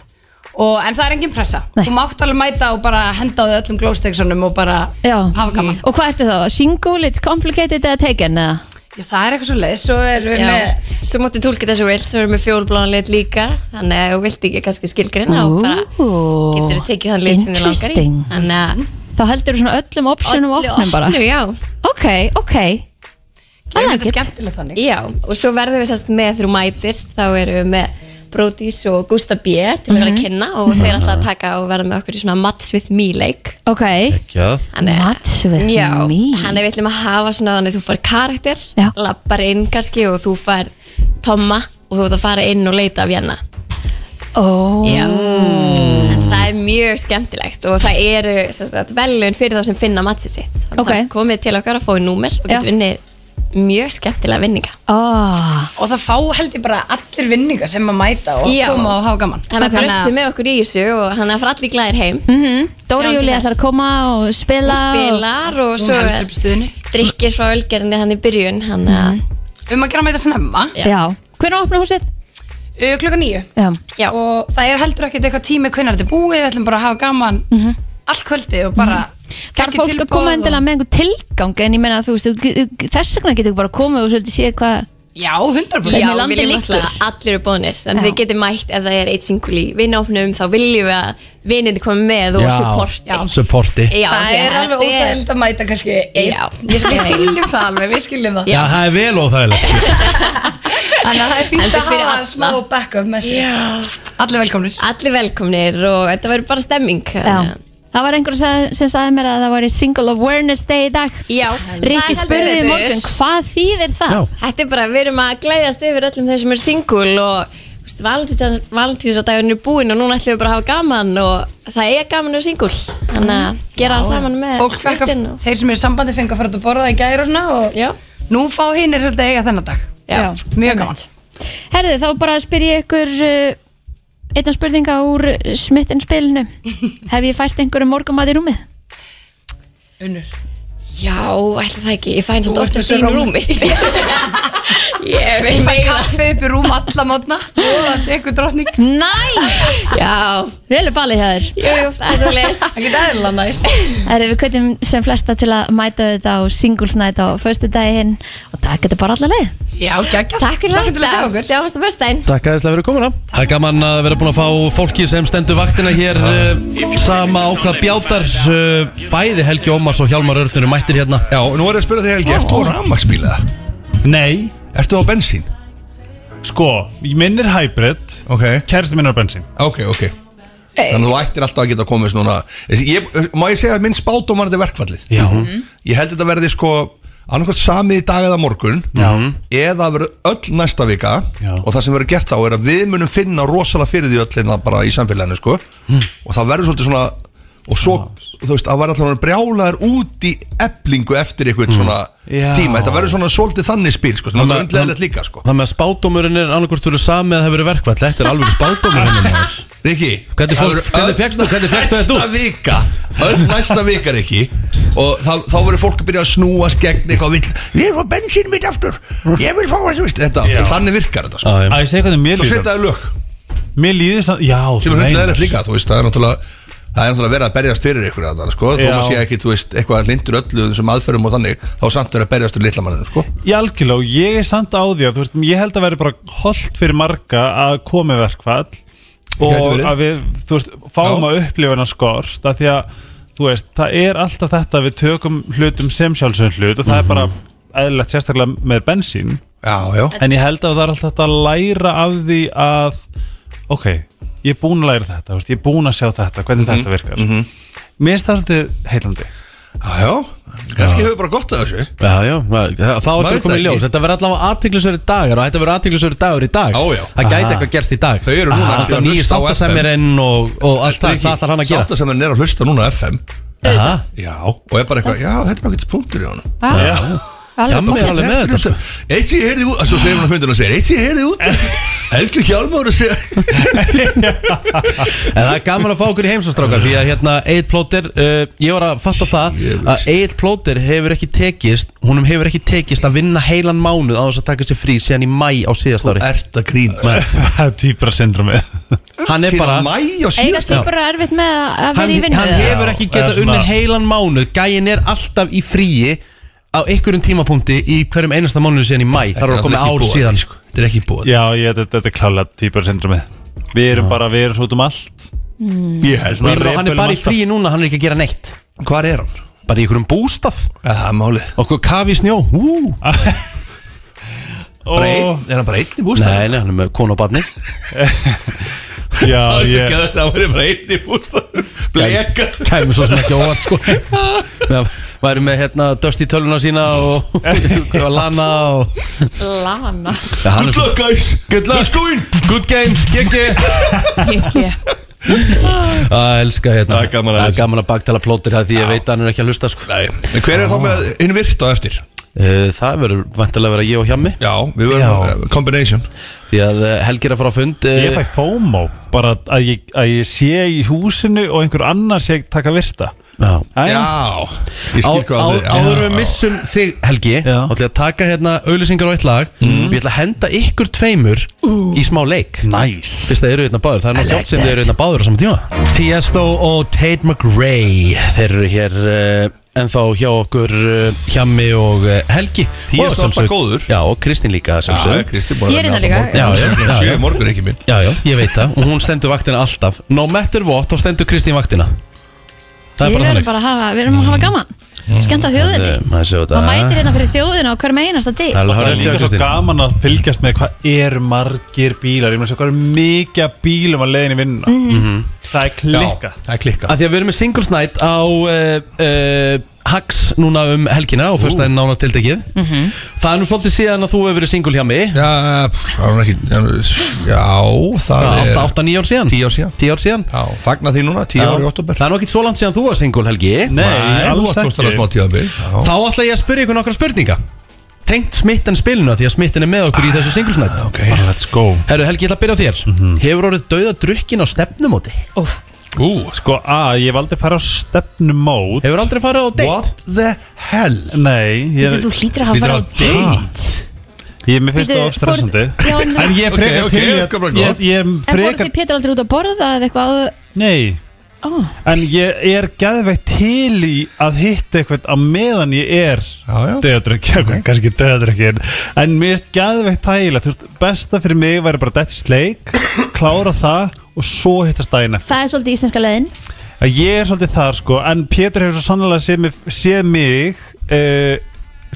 og, En það er engin pressa
Nei.
Þú mátt alveg mæta og bara henda á þau öllum glow sticksunum Og bara
já.
hafa gaman
Og hvað ertu þá? Single, it's complicated eða taken eða?
Já, það er eitthvað svo leið, svo erum við
Já,
með
svo máttu tólka þessu vilt, svo erum við fjólbláðan lit líka þannig að þú vilt ekki kannski skilgreina og bara getur þú tekið þann lit sem þú langar í
Interesting.
Þannig að
Þá heldur þú svona öllum optionum
Öllu
opnum bara
opnu, já,
Ok, ok I
Gerum
like
þetta
it
skemmtilega þannig
já, og svo verðum við sérst með þrjú mætir, þá erum við með Brodís og Gústa B til að vera
Mhm.
að kynna og þeir alltaf að taka og verða með okkur í svona Mats with me leik
Ok,
Já,
Þannig að-
Mats with
Já,
me.
hann er við ætlum að hafa svona þannig að þú fær karakter,
Já.
lappar inn kannski og þú fær Tomma og þú ert að fara inn og leita af hérna
oh.
Já, En það er mjög skemmtilegt og það eru sem sagt, velun fyrir þá sem finna matsið sitt Þannig
Ok.
að komið til okkar að fóið númer og
Já.
getur unnið mjög skemmtilega vinninga
Oh.
Og það fá held ég bara allir vinningar sem að mæta og
Já.
koma og hafa gaman
Þannig að
Þannig
blessu með okkur í þessu og hann er fyrir allir glæðir heim
Mm Dóri
Sjáum til
Júli
þess.
ætlar að koma og spila
og spilar og svo
heldur
er
upp stuðinu.
drikkir frá ölgerðinni hann í byrjun hann
Mhm.
mm.
Um að gera mæta snemma
Já.
Já, hvernig opnar húsið?
uh, klukka nýju
Já,
Já.
Og það er heldur ekkert eitthvað tími hvernig þetta er búið Við ætlum bara að hafa gaman
Mhm.
allt kvöldi og bara
þarf
Takið
fólk að
tilboð
koma
og-
endilega með einhver tilgang en ég meina að þú veist, þú- þú- þess vegna getur bara komið og svolítið séð hvað
Já, 100%
Já,
Hvernig landið
við viljum
liggur?
alltaf að allir eru bónir en
Já.
þið getur mætt ef það er eitt singul í vinnofnum þá viljum við að vinnindi koma með og supporti
supporti
Já,
það
því að
er
þetta
alveg óþægild að mæta kannski einn.
Já.
Ég- Við skiljum það alveg, við skiljum það
Já, það er vel óþægilegt
Þannig að það er fínt
Heldur
að
fyrir
hafa
alla.
smá backup með sér Allir velkomnir
Allir velkomnir og þetta verður bara stemming
Já. Það var einhver sem- sem sagði mér að það væri Single Awareness Day í dag
Já,
Rikki
það er
spurði í
heldur
morgun,
betur.
hvað þýðir það?
Já.
Þetta er bara, við erum að glæðast yfir öllum þeir sem eru singul og valentínsdagurinn er búinn og núna ætlum við bara að hafa gaman og það er gaman að vera singul þannig að gera það saman með
Fólk fekk að,
sveitin og-
þeir sem eru í sambandi fengi að fara út að borða í gæri og svona og
Já.
nú fá hinn er svolítið að eiga þennan dag
Já.
Mjög gaman
Herðu, þá bara spyr ég ykkur uh, einna spurninga úr smittinspilinu Hef ég fært einhverjum morgumat í rúmið?
Unnur
Já, ætla það ekki, ég fæn
Þú
svolítið
ert
ofta
þessu
sín
róm.
rúmi Ég
Ég
veit
fæ
meira
kaffi upp í rúm alla mótna og það tekur drottning
Næs!
Já,
Velu balið hjá þér
jú, jú, það er svo leys
Það geta eðla næs
Herðu, við kveitum sem flesta til að mæta þetta á Singles Night á föstu daginn og takk þetta bara alla leið
Já, geggja
Takk
til
fyrir
að sjá
þetta,
okkur
sjáumst á föstudaginn
Takk aðeins fyrir að koma Það er gaman að vera búin að fá fólki sem stendur vaktina hér uh, sama á hvað bjátar uh, bæði Helgi Ómars og Hjálmar Örnur eru mættir hérna
Já, nú er ég að spyrja þig Helgi, ertu á rafmaksbíla?
Nei,
Ertu á bensín?
sko, ég minnir hybrid
Ok,
Kærasti minn er á bensín
ok, ok Þannig að þú ættir alltaf að geta komið svona ég, Má ég segja að minn spátum var þetta verkfallið
Já mm
Ég held þetta verði sko annarkvæmt sami í dag eða morgun
Já.
eða það verður öll næsta vika
Já.
og það sem verður gert þá er að við munum finna rosalega fyrir því öll hérna bara í samfélaginu sko
Hmm.
og það verður svolítið svona og svo, þú veist, að verða allavega brjálaður út í eblingu eftir einhvern svona
Já.
tíma, þetta verður svona svolítið þannig spil sko, sem
Hmm. Þannig-
er undlegaðilegt líka sko
Þannig að spátumurinn er annarkvort fyrir sami eða það hefur verið verkvæll Þetta er alveg spátumurinn
Riki,
Hvernig fór- hvernig fékkstu- hvernig fékkstu þetta út?
Næsta vika, öll næsta vika Riki Og þá, þá verður fólk að byrja að snúast gegn eitthvað vill Ég er á bensín mitt aftur, ég vil fá þessu veist Þetta,
Já.
þannig virkar þetta sko.
Að ég segja hvernig um mér
Svo
líður
setjaðu lög
Mér líður samt, já
sem
þú
er hundlega
meinar.
eðlert líka, þú veist, það er náttúrulega það er náttúrulega verið að berjast fyrir ykkur þarna, sko, þó
Já.
maður sé ekki, þú veist, eitthvað lindur öllu sem aðferðum og þannig, þá samt verið að berjast fyrir litla manninu, sko.
Ég algjörlega, og ég er samt á því að þú veist, ég held að vera bara holdt fyrir marga að komi verkfall
Gæti
og
verið.
að við, þú veist, fáum
Já.
að upplifa hennar skort að því að, þú veist, það er alltaf þetta að við tökum hlutum sem sjálfsögum hlut og það
Mhm.
er bara eðlilegt sérstaklega með bensín
Já, já.
en ég held að það er alltaf þetta að læra af því að, ok ég er búin að læra þetta, þú veist, ég er búin að sjá þetta hvernig
Mhm.
þetta virkar Mér finnst það svolítið heilandi
Já, já. Kanski hefur bara gott að þessu.
Já, já, það- þá
Maður veit
ertu að koma
það
í ljós
ekki.
Þetta verður allavega aðtiklisverið dagar og þetta verður aðtiklisverið dagur í dag
Ó, já.
Það gæti
Aha.
eitthvað gerst í dag
Þau eru núna
Það er nýja sáttasemmerinn og, og allt það, það ætlar hann að gera
Sáttasemmerinn er að hlusta núna á FM.
Aha.
Já. Og er bara eitthvað, já, þetta er ákveðt punktur í honum.
Já,
Hjálmar er alveg með þetta Eh. sko.
Eitt sem ég heyrði út, svo segir hún að fundinu og segir, eitt sem ég heyrði út, Helgi Hjálmar að segja,
En það er gaman að fá okkur í heimsastrákar Því að hérna Egil Plóter uh, Ég var að fatta það að Egil Plóter hefur ekki tekist Húnum hefur ekki tekist að vinna heilan mánuð Á þess að taka sér frí síðan í mæ á síðast ári
ert að grína.
það er týpra syndromið
Hann er bara
Mæ og
Eiga
síðast.
týpur er erfitt með að- að
Hann,
vera í vinnu
hann
eða?
hefur ekki
Já,
getað
eða svona-
unnið heilan mánuð Gæin er alltaf í fríi á einhverjum tímapunkti í hverjum einasta mánuði síðan í mæ Það eru að koma ár síðan
sko. Þetta er ekki búið
Já, ég, þetta, þetta er klálega týpar syndromið Við erum bara, við erum svo út um allt
Ég held
Ég
mér
meina, Hann er bara í
alltaf.
fríi núna, hann er ekki að gera neitt
Hvar er hann?
Bara í einhverjum bústaf
Ja, Það er málið
Okkur kafi í snjó Ú.
Ó,
Bara einn- Er hann bara einn í bústað?
Nei, nei, hann er með konu og barni
já,
Það er svo
ég,
gæðið að hann er bara einn í bústað Bleka
Kæmi svo sem ekki óvart sko Meðan Væri með hérna döst í tölvuna sína og, og lana og
Lana
ja, hann er
Good
svo-
luck guys Good luck Let's go in
Good game, GG Það elska hérna
Það er gaman að
Það
þessu.
gaman að baktala plótir það því ég veit að hann er ekki að hlusta sko
Nei En hver er þá með einu virt á eftir?
Eh, Það verður vantilega að vera ég og hjammi
Já, við verðum
Já.
uh, combination
Því að eh, Helgi er að fara á fund eh,
ég fæ FOMO Bara að ég, að ég sé í húsinu og einhver annar sé að taka virta
Já
Æ,
Já Ég
Á-
skil hvað
á-
þið-
Áður en við
Já.
missum þig Helgi Þá
Já.
ætlum ég að taka hérna auðlýsingar á eitt lag
Mhm.
Við ætlum að henda ykkur tveimur í smá leik
næs
Fyrst að eru hérna báður, það er nokkuð oft sem þið eru hérna báður á saman tíma Tiesto og Tate McRae Þeir eru hér uh, ennþá hjá okkur uh, Hjammi og uh, Helgi
Tiesto
Og að
alltaf
sjálfsögðu-
góður.
Já, og Kristín líka að
Já,
sjálfsögðu.
Kristi búin að
Ég er
vera
hérna
með
líka.
allan morgun.
Já,
Hún
já,
er
já,
sjö
já.
í morgun ekki minn
Já, já, ég veit það og hún stendur vaktina alltaf No matter what, þá stendur Kristín vaktina Það er
Við
bara
verðum
þannig
bara að hafa, við verðum að hafa gaman Skemmta þjóðinni
Eh, maður séu þetta.
Maður mætir hérna fyrir þjóðina á hverjum einasta
Það
deg
er
Það er
alveg
líka
hárrétt hjá
svo
Kristín.
gaman að fylgjast með hvað er margir bílar Ég meina svo hvað er mikið af bílum að leiðin í vinnuna
Mhm.
Mhm. Það er klikka
Það er klikka
að því að við erum með Singles Night á uh, uh, Hax núna um helgina og fyrstæðin nánar tildekið
Mhm.
það er nú svolítið síðan að þú hefur verið single hjá mig
Já, pff, það er nú ekki- það er nú- já, það er
8-9 ár síðan 10
Tíu ár síðan.
ár síðan
Já, fagna því núna, tíu
Já.
ári í oktober
það er nú ekki svo langt síðan þú var single Helgi
Nei, alls
Það kostar að smá
ekki
tíðanbíl
þá ætla ég að spyrja ykkur nokkra spurninga tengt smitten spilinu því að smitten er með okkur í þessu Singles Night
Ah, Ok Mhm.
Let's go
Herru Helgi, ég ætla að byrja á þér Hefur orðið dauða drukkin á stefnumóti?
Sko, a, ég hef aldrei farið á stefnumót
Hefur aldrei farið á date?
What the hell
Nei, ég,
Þú hlýtur að hafa
Við
farið á
þurfum að date
ég mér finnst
Bíddu,
það of stressandi
fóruð- Já, en-
En ég er frekar
ok,
til í
ok, bara
að- Ég,
gott.
ég er
En fóruð
frekar
þið Pétur aldrei út að borða eða eitthvað áður?
Nei
Ó,
En ég er gæðveitt til í að hitta eitthvað á meðan ég er
já.
döðadrykki, okay. kannski döðadrykki en mér er gæðveitt þægilega þú veist, besta fyrir mig væri bara dætt í sleik klára það og svo hittast daginn eftir.
Það er svolítið íslenska leiðin
að ég er svolítið þar sko en Pétur hefur svo sannlega séð mig, séð mig uh,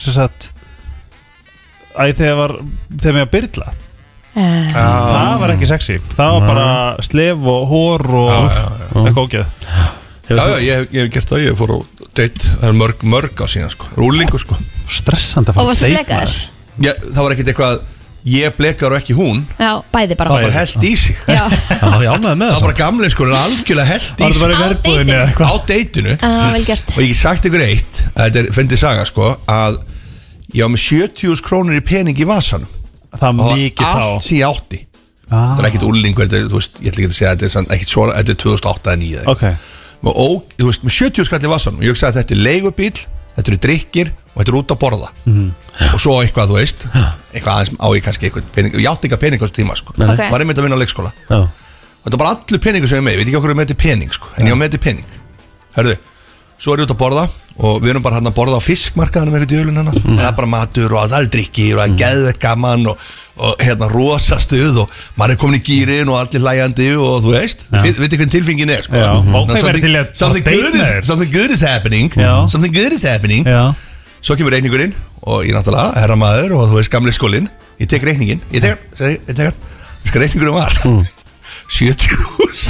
sem sagt að þegar var þegar mér að byrla
Eh,
það var ekki sexy, það var bara slef og hór og eitthvað ógeð
Hefur
Já, já,
þú-
ég hef- ég hef gert það, ég fór á date Það er mörg, mörg á síðan, sko Rúlingu, sko
stressandi að
Og
fara
varstu
að date,
flekaður?
maður.
ég, Það var ekkit eitthvað Ég blekar og ekki hún
Já, bæði bara
Það var bara held í sig
Já,
Já, ég ánæði með
Það var
það
bara gamlega, sko, en algjörlega held í
Var það
sig
bara í
Á
verbúðinni
deitinu?
eða eitthvað?
Á dateinu
uh, vel gert
Og ég get sagt ykkur eitt að Þetta er, fyndi saga, sko Að ég var með 70 krónur í pening í vasanum
Það
Og
var
það
mikið
var
þá
allt sem ég átti
ah,
Það er ekkit úlingu, þetta er, þú veist Ég ætla ekki að segja, þetta er samt ekkit svona Þetta er 2008 eða 2009
Ok,
og ó, þú veist, með 70 skall í vassanum ég hugsaði að þetta er leigubíl, þetta eru drikkir og þetta eru út að borða
Mhm.
og svo eitthvað, þú veist, eitthvað aðeins á ég kannski eitthvað pening, ég átti eitthvað pening á þessu tíma sko.
nei. Ok.
var einmitt að vinna á leikskóla
Já.
og þetta var allir peningur sem ég er með, ég veit ekki okkur ég með þetta pening sko. en ég var með þetta pening Herðu, svo er ég út að borða og við erum bara hann að borða á fiskmarkaðanum eitthvað í ölun hennar hérna.
Mm.
það er bara matur og það er drikkir og það er geðveitt gaman og, og hérna rosa stuð og maður er komin í gýrin og allir lægjandi og þú veist, við veit hvernig tilfingin er sko.
Já, vá,
Ná,
ég væri til í
something,
að-
something,
að
good
deyta þér.
is, something good is happening
Já.
something good is happening
já
svo kemur reyningurinn og ég náttúrulega herra maður og þú veist gamli skólinn ég tek reyningin, ég tek hann, segi, ég tek hann veist hvað reyningurinn var 70 hús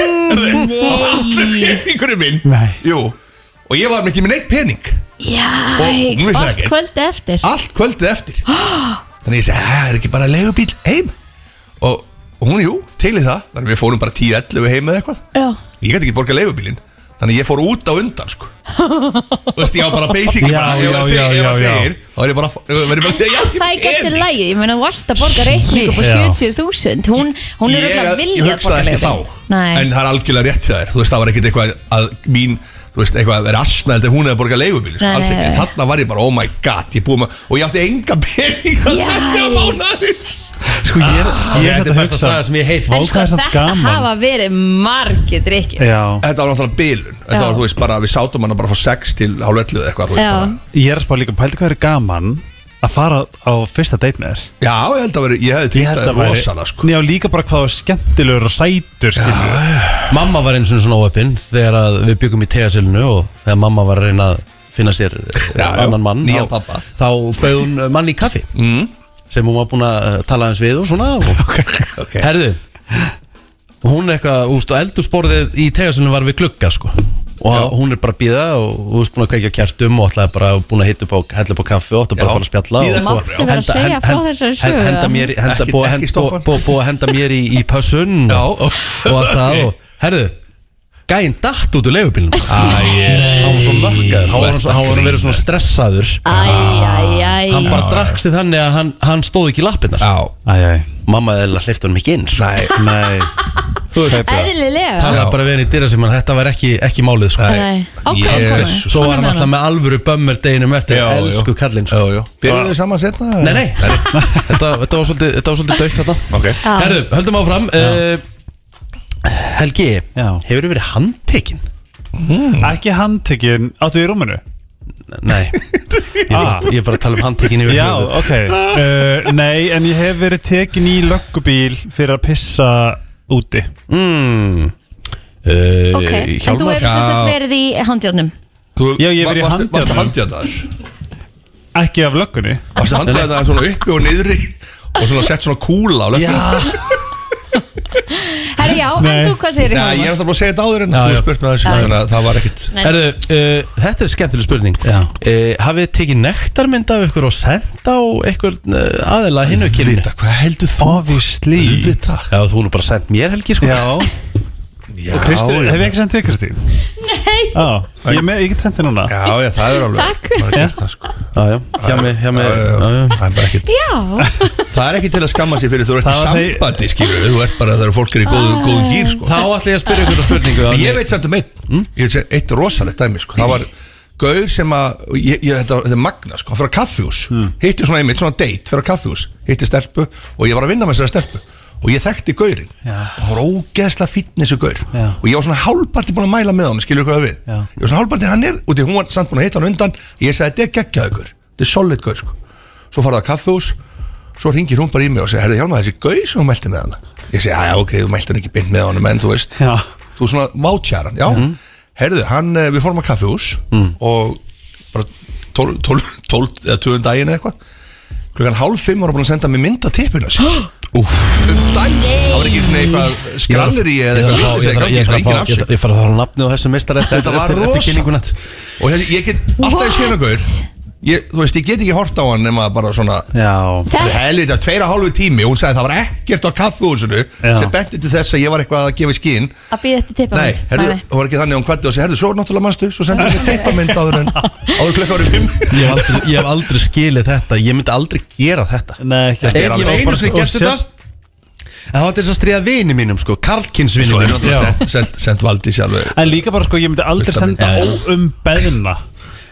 og allir reyningurinn minn
Nei.
jú, og ég var ekki með neitt pening
Já,
Og hún vissi það
allt
ekki.
kvöldi eftir
allt kvöldið eftir þannig ég segi, það er ekki bara legubíl heim og, og hún, jú, til í það þannig við fórum bara 10-11 heim eða eitthvað
Já,
ég gæti ekki borga leigubílinn þannig ég fór út á undan sko. þú veist ég var bara basically
Já,
bara, ég
já,
var að segja,
já,
ég var
já,
að
já.
segja þá þá er ég bara verið bara að segja
Það er ekki eftir lægi, ég meina þú varst að borga reikning upp á
Já.
70.000 Hún, hún er örugglega
ég, ég
vilja að
hugsaði
borga
ekki
leiðin
þá
Nei,
En það er algjörlega rétt hjá þér Þú veist, það var ekkit eitthvað að mín Þú veist, eitthvað að vera asna Þegar hún hefði borgað leigubíl sko,
Nei,
Alls
nei,
ekki,
nei.
þarna var ég bara, oh my god Ég búið maður, og ég átti enga pening Að
Jæs.
taka Ah, mánaðis
Sko ég er, ég er satt
Þetta er
að
besta
hugsa
saga sem ég heilt
en
Vá, hvað
sko
er samt
þetta
gaman.
hafa verið margir drikkir
Já,
Þetta var náttúrulega bilun Þetta
Já.
var, þú veist, bara, við sátum hana bara frá 6 til hálf 11 eða eitthvað, þú veist,
Já.
bara.
ég er að spá líka Pældi hvað er gaman að fara á fyrsta date með þér
Já, ég held að vera, ég hefði
Ég held
týnt að
að væri-
rosana sko.
Já, líka bara hvað var skemmtilegur og sætur skilur.
Mamma var eins og svona óöppin þegar að við byggum í tegasilinu og þegar mamma var að reyna að finna sér já,
Já, já,
annan mann
nýjan
þá,
pabba.
þá bauð hún eh, mann í kaffi
Mm.
sem hún var búin að eh, tala eins við og svona og,
okay.
Herðu Hún er eitthvað, úst, og eldursporðið í tegasilinu var við glugga sko og
Já.
hún er bara að býða og þú veist búin að kveikja á kjartum og ætlaði bara búin að hitta upp á, hella upp á kaffi og ætlaði bara
Já.
að fara að spjalla
Bíða
og,
eftir
Máttu vera að
henda-
segja
hend-
frá
hend-
þessari
hend-
sögu
henda mér, í- henda,
Ekki-
búið að
ekki
hend-
stoppa.
búið- búið- búið að henda mér í, í pössun
Já,
og, og allt það og, herðu gæinn datt út úr leigubílnum
Æ,
hann var svo mörkaður, hann var
Þú ert
svo-
að
hann var að vera svona stressaður
Æjæjæj
hann bara drakk sig þannig að hann, hann stóð ekki í lappirnar
já,
Æ, æ,
mamma eða hlifta honum ekki inn sko.
nei
nei
Eðlilega
talaði
Já.
bara við hann í dyra sem hann þetta var ekki, ekki málið sko.
Nei. Ákveðin
Ég-
kona.
svo var hann alltaf með alvöru bömmur deginum eftir,
Já, já.
elsku kallinn sko.
Já, Ah. já. Byrjuðu þið saman setna?
nei, nei, þetta, þetta var svolítið, þetta var svolítið dögt þetta
Ok.
herru, höldum áfram uh, Helgi,
Já.
hefur þið verið handtekinn?
Hmm.
Ekki handtekinn, áttu í rúminu?
nei, ég,
Ah.
ég er bara að tala um handtekinn yfir
Já,
höfuð.
ok uh, Nei, en ég hef verið tekinn í löggubíl fyrir að pissa úti
mm. uh,
Ok, en þú
Hjálmar
hefur sem sagt verið í handjárnum
Þú-
Já, ég hef verið í
varstu-
handjárnum.
Varstu handjarnar?
Ekki af löggunni
Varstu handjarnar svona uppi og niðri Og svona sett svona kúla á löggunum
Herra já,
Nei.
en þú hvað segir
Nei, ég er alltaf bara að segja þetta áður en
Já,
þú
já.
er spurt með þessu
Já.
Þannig að það var ekkit
Nei.
Erðu, uh, þetta er skemmtileg spurning uh, Hafið þið tekið nektarmynd af ykkur og sent á ykkur uh, aðila hinnu kynni?
Vita, hvað heldur þú?
Obviously
Vita
Já, þú er bara sendt mér helgi sko
Já,
Já,
Kristín,
já.
hef ég ekki sendt þig Kristín? Nei Já, ég, er með, ég get sendt þig núna
Já, já, það er alveg
Takk.
maður er gert það, sko.
Já, já, hjá mig, hjá mig
Já, já,
já, já.
já. Það er bara ekkit
Já,
Það er ekki til að skamma sér fyrir þú ert í
Það var þeir-
sambandi skilur Þú ert bara þegar fólk er í góðu, góðum gýr sko.
Þá ætla ég að spyrja ykkur að spurningu
En Ég
Árni.
veit samt um eitt Ég veit samt eitt rosalegt dæmi sko. Það var gaur sem að og ég, ég, þetta, þetta er magna, sko, hann fyrir að kaffjús Hitti svona einmitt, svona date fyrir að kaffjús Hitti stelpu og ég var að vinna með þessari stelpu Og ég þekkti gaurinn
Já.
Og hann var ógeðslega fínn þessu gaur
Já.
Og ég var svona hálparti búin að mæla með hann Skilur hvað við
Já.
Ég var svona hálparti hann er, út í hún var samt búin að hitta hann undan Ég sagði, þetta er geggjaðu gaur, þetta er solid gaur sko. Svo farið að kaffjús Svo ringir hún bara í mig og segir, herðu hjálma þessi gaur sem hún meldi með hann Ég segi, já, ok, þú meldi hann ekki beint með honum En þú veist,
Já.
þú svona vátjaran, já herðu, hann, eh, við fórum að kaffihús
Mm.
og bara 12 12 12 eða 2 daginn eða eitthvað klukkan hálf 5 var hann búin að senda mér mynd að tippinu sér um daginn, það var ekki svona eitthvað skralleri
Ég
eða
þarf að
eitthvað
fá-
vitleysa,
ég
ekki, sko,
þarf- ég þarf að fá-
engin
ég
afsökun.
þarf- ég þarf að fara á nafni á þessum meistar eftir,
þetta var
eftir, eftir kynninguna
rosalegt og hérna, ég get alltaf í sérnagur Ég, þú veist, ég get ekki hort á hann nema bara svona
Já
Þetta-
helvita, tveira hálfu tími hún sagði það var ekkert á kaffihúsinu
Já.
sem benti til þess að ég var eitthvað að gefa skinn
að býða þetta tippa
Nei, herðu, það var ekki þannig að hún kvætti og segi, herðu, svo náttúrulega mannstu, svo sendur við teipamynd áður en áður klukka árið fimm
ég hef, aldrei, ég hef aldrei skilið þetta Ég myndi aldrei gera þetta
Nei, ekki
Þetta er alveg-
Ég hef
Einu
bara
sinni
og
gert þetta.
sérst- En það var til þess að stríða vini mínum sko Karlkinsvini
Svo er
mínum Já.
náttúrulega sent, sent, send valdi sjálfur
En líka bara sko, ég myndi aldrei
Fyrsta mynd.
senda
Já, já.
óum beðna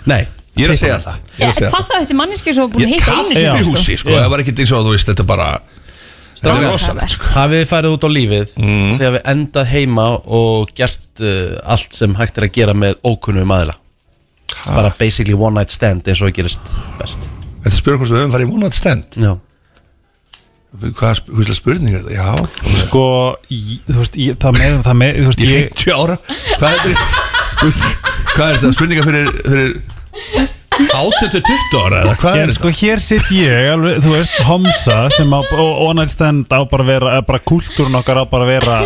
Nei,
Ég er að segja það, ég er að
Eh,
segja það
Hvað þá eftir manneski sem var búin að
Ég-
hitta einu sinni?
Kaffihúsi, sko,
Já.
það var ekkert eins og þú veist, þetta er bara Þetta er
Strákar.
rosalegt, Mm. sko
Hafið þið farið út á lífið Þegar við endað heima og gert uh, allt sem hægt er að gera með ókunnum aðila
Ah.
Bara basically one night stand eins og það gerist best
Þetta spyrir hvort við höfum farið í vonandi stend
Já
Hvað húslega spurning er þetta? Já,
Sko, ég, þú veist, ég, það með, það með, þú veist,
ég
ég
50 ára Hvað er þetta? Þú veist, Hvað er þetta? Spurningar fyrir, fyrir 8 til 20 ára eða hvað
En
er
sko
þetta?
hér sitt ég, alveg, þú veist, Homsa sem á, og onætt stend á bara að vera, eða bara kultúrun okkar á bara að vera,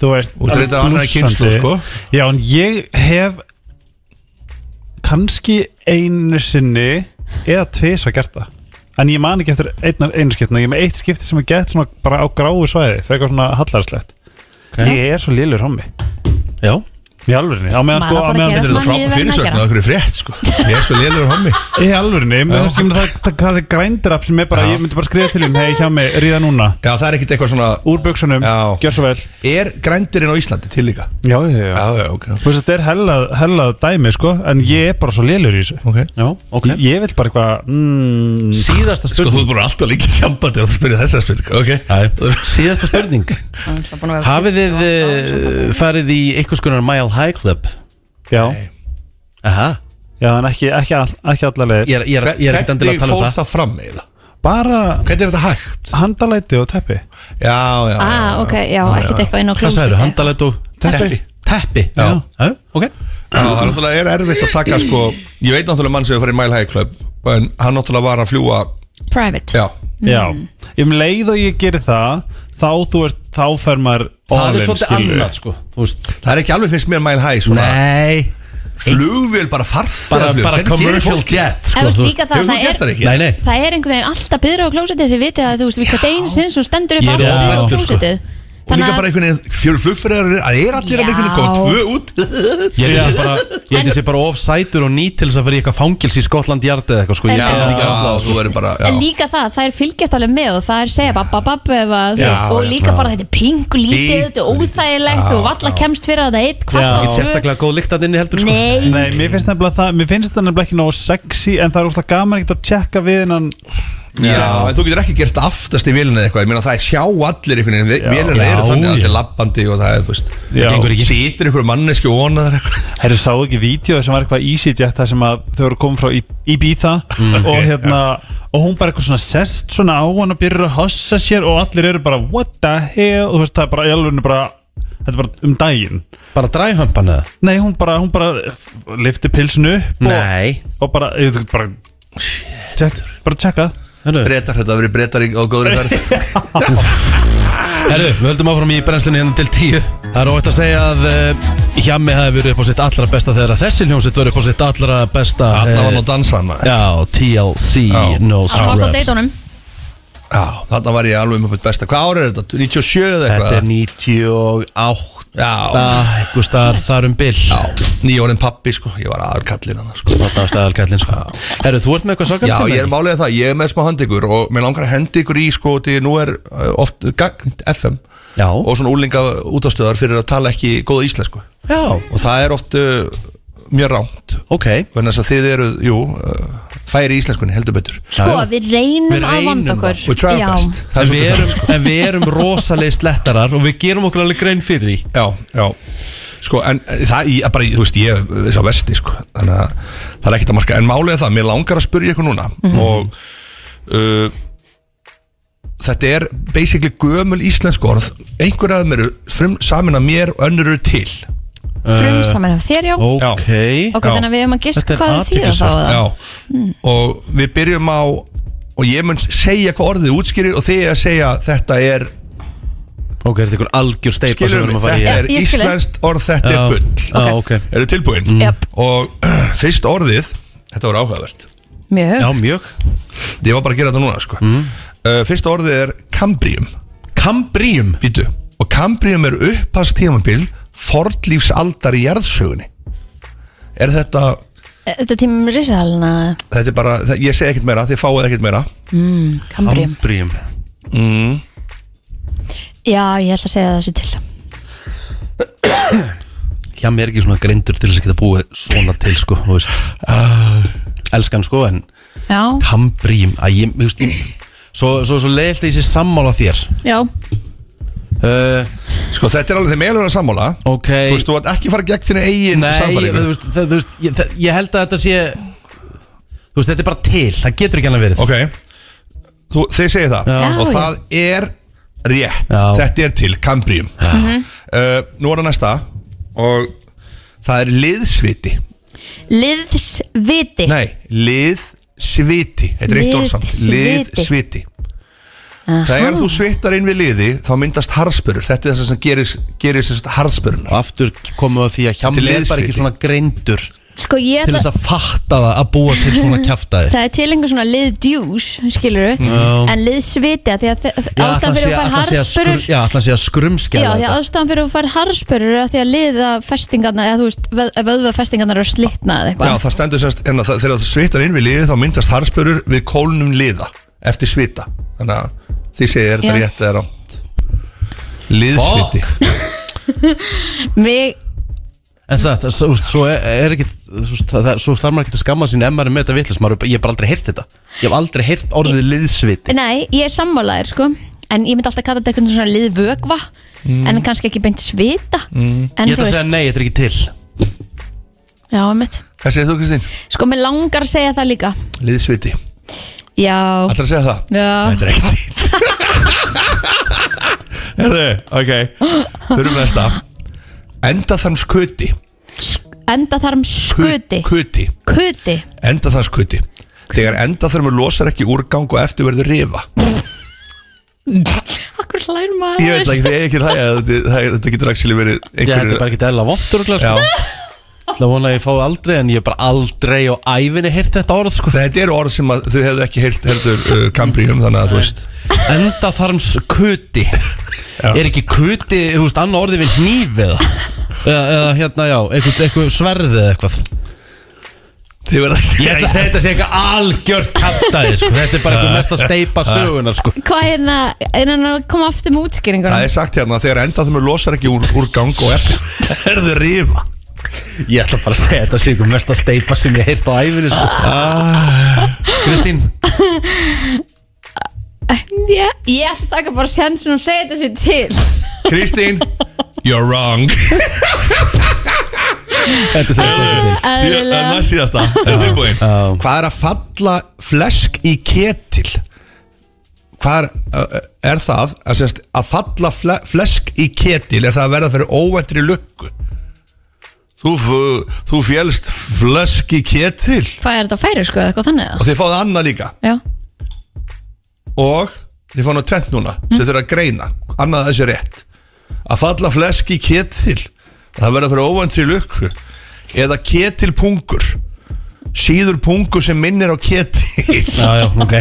þú veist
Þú ert reyndar annarri
blússandi.
kynslóð, sko.
Já, en ég hef kannski einu sinni eða tvisa gert það En ég man ekki eftir einnar einu skiptinu, ég er með eitt skipti sem er gett svona bara á gráu svæði, frekar svona hallarslegt
Ok.
Ég er svo lélur hommi
Já
Í alvörinni, á meðan
Maður
sko á
á bara að
meðan
gera
Þetta er
mann
það frábæð
líður vel að
fyrirsögn
gera.
og okkur er frétt sko Ég er svo lélugur hommi
Í alvörinni, meðan skimur það, það, það er grændar sem er bara,
Já.
ég myndi bara skrifa til um Hei hjá mig, ríða núna,
Já, það er ekkit eitthvað svona
úr buksunum,
Já.
gjör svo vel
Er grændirinn á Íslandi til líka?
Já, já, já,
Já, já, ok
Þú veist, þetta er hellað, hellað dæmi, sko En ég er bara svo lélur í þessu
Ok
Já, ok
Ég- Ég vil bara eitthvað mm,
Síðasta
Sko, þú
spurning
ert bara alltaf líka tjampað þegar þú spyrir þessar spurning Ok
Æ, Síðasta spurning Hafið þið eh, farið í einhvers konar Mile High Club?
Já,
Aha
já, en ekki, ekki, all, ekki allar leið
Ég er, ég er, ég er ekkert endilega að tala um
fór
það
það fram eiginlega?
Bara
Hvernig er þetta hægt?
handalæti og teppi
Já, já, já,
Ah,
já.
ok, já, ekkert eitthvað inn á
Hvað
klósetti.
sagðið, handalætt og
Teppi
Teppi,
Já.
já, Mm. já. ok
Já, það er náttúrulega er erfitt að taka sko Ég veit náttúrulega mann sem er farið í Mile High Club En hann náttúrulega var að fljúa
Private
Já,
Mm.
Já, um leið og ég gerir það Þá, þú veist, þá fer maður
Það
all in,
er svolítið
skilurðu.
annað, sko Þú veist
það er ekki alveg finnst mér Mile High svona
Nei
Flugvél bara
Bara,
farfið
bara commercial jet,
Eða,
sko
þú
þú
veist,
veist.
líka það,
Hefur þú
það
gert það
er
ekki?
Nei, nei
það er einhvern veginn alltaf byður á klósetið þið vitið að þú veist við hvað deginn sinn svo stendur upp
Ég er
alltaf byður á
ofhræddur, sko.
klósetið
Og líka bara einhvern veginn fjöru flugfyrir Það er allir að einhvern veginn koma tvö út
Ég held þessi bara, ég held þessi bara of sætur og nýt til þess að fyrir eitthvað fangils í Skotland Yard eða eitthvað sko Ég
Já,
get ekki að
þú verður bara já.
En líka það, það er fylgjast alveg með og það er segja babba babba ef að
Já,
þú veist og
já,
líka bara þetta er pingu lítið,
Pínku
þetta er óþægilegt og valla kemst fyrir að þetta eitt
Já.
hvað
Ekkert
það
sérstaklega góð lykt að inni heldur sko
Nei,
Nei, mér finnst nefnilega það, mér finnst þetta nefnilega ekki nógu sexy En það er úrslag gaman ekkert að tjekka við innan
já, en þú getur ekki gert aftast í vélina eða eitthvað Ég meina það er sjá allir einhvern veginn
Já.
Vélina eru
Já,
þannig að
já.
þetta er labbandi og það er, þú veist
Já.
gengur ekki.
Sýtur einhver manneski og vonaðar eitthvað
Herru, sáu ekki vídeo sem var eitthvað E EasyJet þar sem að þau voru komið frá I- Ibiza og hérna og hún bara eitthvað svona sest svona á hann og byrjar að hossa sér og allir eru bara what the hell og þú veist það er bara í alveg bara þetta er bara um daginn
Bara dræhömpan eða?
Nei, hún bara, hún bara lifti pilsinu upp og,
Nei
og bara, ég veit ekki, bara check, bara checka
Herru,
Bretar, þetta verið bretar í á góðri ferð
herru, við höldum áfram í brennslinu hérna til tíu Það er óvægt að segja að uh, Hjami hafi verið upp á sitt allra besta þegar að þessi hljómsveit verið upp á sitt allra besta
Þarna var
eh,
nú dansan maður
Já, TLC,
Já.
No
hann
Strap
varst á deitunum
Já, þarna var ég alveg með mitt besta Hvað ára er þetta? 97 eða
Þetta
eitthvað?
er 98
Já,
Eitthvað staðar þar um bil
já, nýjórinn pappi sko Ég var aðal kallinn hann sko
Þarna var staðalkallinn sko Herru, þú ert með eitthvað
Já,
sakar
ég er málega það, ég er með smá handi ykkur og mér langar að hendi ykkur í sko því nú er uh, oft gagnt FM
Já.
og svona úlinga útastöðar fyrir að tala ekki góða íslensku og
Já,
það er oft uh, mjög rámt
ok
vegna þess að þið eru, jú, uh, færi í íslenskunni heldur betur
Sko, við reynum
Við
að
reynum
vanda
það.
okkur
We try our best Það
En
er
við,
svolítið
erum,
það, sko.
en við erum rosalegi slettarar og við gerum okkur alveg grein fyrir því
Já, já Sko, en eh, það, ég, bara, þú veist, ég er sá vesti, sko Þannig að það er ekkert að marka En málega það, mér langar að spyrja ykkur núna
Mhm.
Og uh, Þetta er basically gömul íslensk orð Einhver af þeim eru frum, samin að mér og önnur eru til
Frumsaman af þér, já Ok,
Ok,
já.
þannig að við hefum að
Þetta
giska
er
hvað því þá
athyglisvert,
eða?
Já
Mm.
Og við byrjum á Og ég mun segja hvað orðið útskýrir Og þið að segja þetta er
ok, er þetta ykkur algjör steipa sem við
Skilur
erum
mig,
að fara í
þetta er
Ég skil þig.
íslenskt orð, þetta
Já.
er bull
Já, ok
Eru tilbúin?
Mm.
Jöp.
Og fyrst orðið, þetta voru áhugavert
Já,
Mjög,
mjög
Ég var bara að gera þetta núna sko. mm. Fyrsta orðið er kambrium
Kambrium
Býtu Og kambrium er upphast tímabil Fornlífsaldar í jarðsögunni Er þetta
þetta er tímum risaðalina
Þetta er bara það- Ég segi ekkert meira Þið fáið ekkert meira
Kambrium
Kambrium
Já, ég ætla að segja það sér til
Hjá mér er ekki svona grindur til þess að geta búið svona til sko, þú veist
Ah.
Elskan sko, en
Já,
Kambrium að ég, þú veist, ég Svo, svo, svo leiðilt að ég sé sammála þér
já,
uh,
Sko þetta er alveg þeim meðalur að sammála
Ok
Þú veist, þú vart ekki að fara gegn þínu eigin
Nei,
sannfæringu.
þú veist, það, þú veist ég, það, ég held að þetta sé Þú veist, þetta er bara til, það getur ekki annað verið
Ok þú, Þið segir það
Já.
Já,
Og
já.
það er rétt
Já.
Þetta er til kambrium
Mhm.
uh, Nú er það næsta Og það er liðsviti
liðsviti
Nei, liðsviti Þetta er eitt orð samt
Liðsviti.
Liðsviti Þegar þú svitar inn við liði þá myndast harspörur Þetta er það sem gerir, gerir sem sagt harspörunar
Og aftur komum við að því að hjá
Til
mér er bara
liðsviti.
ekki svona greindur
sko ég
Til
ætla
þess að fatta það að búa til svona kjaftaði
það er til einhver svona lið djús skilur við,
Já.
en lið sviti af því að þe-
Já,
ástæðan
ætli hann sé-
fyrir að fara
ætli hann sé að skrum-
harspörur
Já, ætla að sé að
Já,
skrumskjala
því að ástæðan fyrir að fara harspörur er að því að liða festingarna eða þú veist, vöðva festingarna eru slitna eða
Já,
eitthvað
það stendur semst, en það, þegar það svitar inn við liðið þá myndast harspörur við kólnum liða eftir svita Þannig að þið segir er
Já.
þetta rétt eða rámt Liðsviti
Mig,
En það, það svo, svo er- er ekki svo, það, svo þarf maður ekki að skamma sín ef maður er með þetta vitlis, maður, er bara- ég hef bara aldrei heyrt þetta ég hef aldrei heyrt orðið liðsviti
nei, ég er sammálaður sko en ég myndi alltaf kalla þetta eitthvað svona liðvögva en kannski ekki beint svita
Mm.
en
Ég ætla að segja nei, þetta er ekki til
já, mitt
Hvað segir þú Kristín?
sko, mér langar að segja það líka
Liðsviti
já,
Ætlar að segja það?
Já.
Þetta er ekki til Herðu, ok Þurfum næsta Enda þann skuti
enda þarm skuti
Kuti
kuti,
Enda þann skuti Þegar enda þarf losar ekki úrgang og eftir verður rifa
akkur hlær maður
Ég veit ekki, þið er ekki að hlæja þetta, það- þetta getur actually verið
Ég þetta er
einhverjir
bara ekki dæla vondur og glas
Já,
sko. Það vona að ég fá aldrei en ég hef bara aldrei á ævinni heyrt þetta orð sko
þetta eru orð sem að þau hefðu ekki heyrt heldur uh, Kambri um þannig að þú veist
Enda þarms kuti Er ekki kuti, þú veist, annað orðið við hnífið eða, eða hérna, já, eitthvað, eitthvað sverðið eða eitthvað
Þið verða
Ég ætla að segja þetta sé eitthvað algjört kaftaði sko. Þetta er bara eitthvað mest að steipa sögunar sko.
hvað er hérna, er hérna að koma aftur með útskýringur
Það er sagt hérna þegar enda þau losar ekki úr, úr gang og eftir verður rifa
Ég ætla bara að segja þetta sé eitthvað mest að steipa sem ég heyrt á æfinni sko. Kristín
Já, ég ætla að taka bara sjansin og segja þetta sér til
Kristín, you're wrong
Þetta sé eitthvað til
Þannig að síðasta er tilbúin
Já.
Hvað er að falla flesk í ketil? Hvað er, uh, er það að, semst, að falla fle flesk í ketil er það að verða fyrir óvæntri lukku? Þú, f- þú félst flesk í ketil
hvað er þetta að færa sko, eitthvað þannig eða?
og þið fáðu annað líka
já,
og þið fáðu nú tvent núna sem
Mm.
þurfa að greina annað að þessi rétt að falla flesk í ketil það verða fyrir óvæntri lukku eða ketilpungur síður pungur sem minnir á ketil
Já, já, ok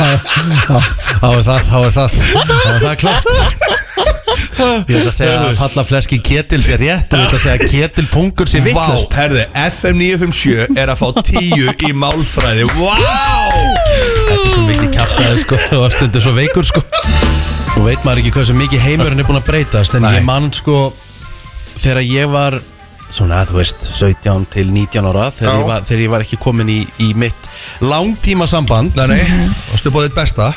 Þá er það, þá er það Þá er það klart Ég ætla að segja að falla fleski ketil sé rétt og ég ætla að segja að ketilpungur sé
Vá,
vittlust
herði, FM 957 er að fá 10 í málfræði Vá
Þetta er svo mikið kæftæði sko og stundu svo veikur sko Nú veit maður ekki hversu mikið heimurinn er búin að breytast en
Nei.
ég mann sko þegar ég var svona, þú veist, 17 til 19 ára þegar,
Já.
ég var, þegar ég var ekki komin í, í mitt langtíma samband
Nei, nei,
Mhm.
varstu búið þitt besta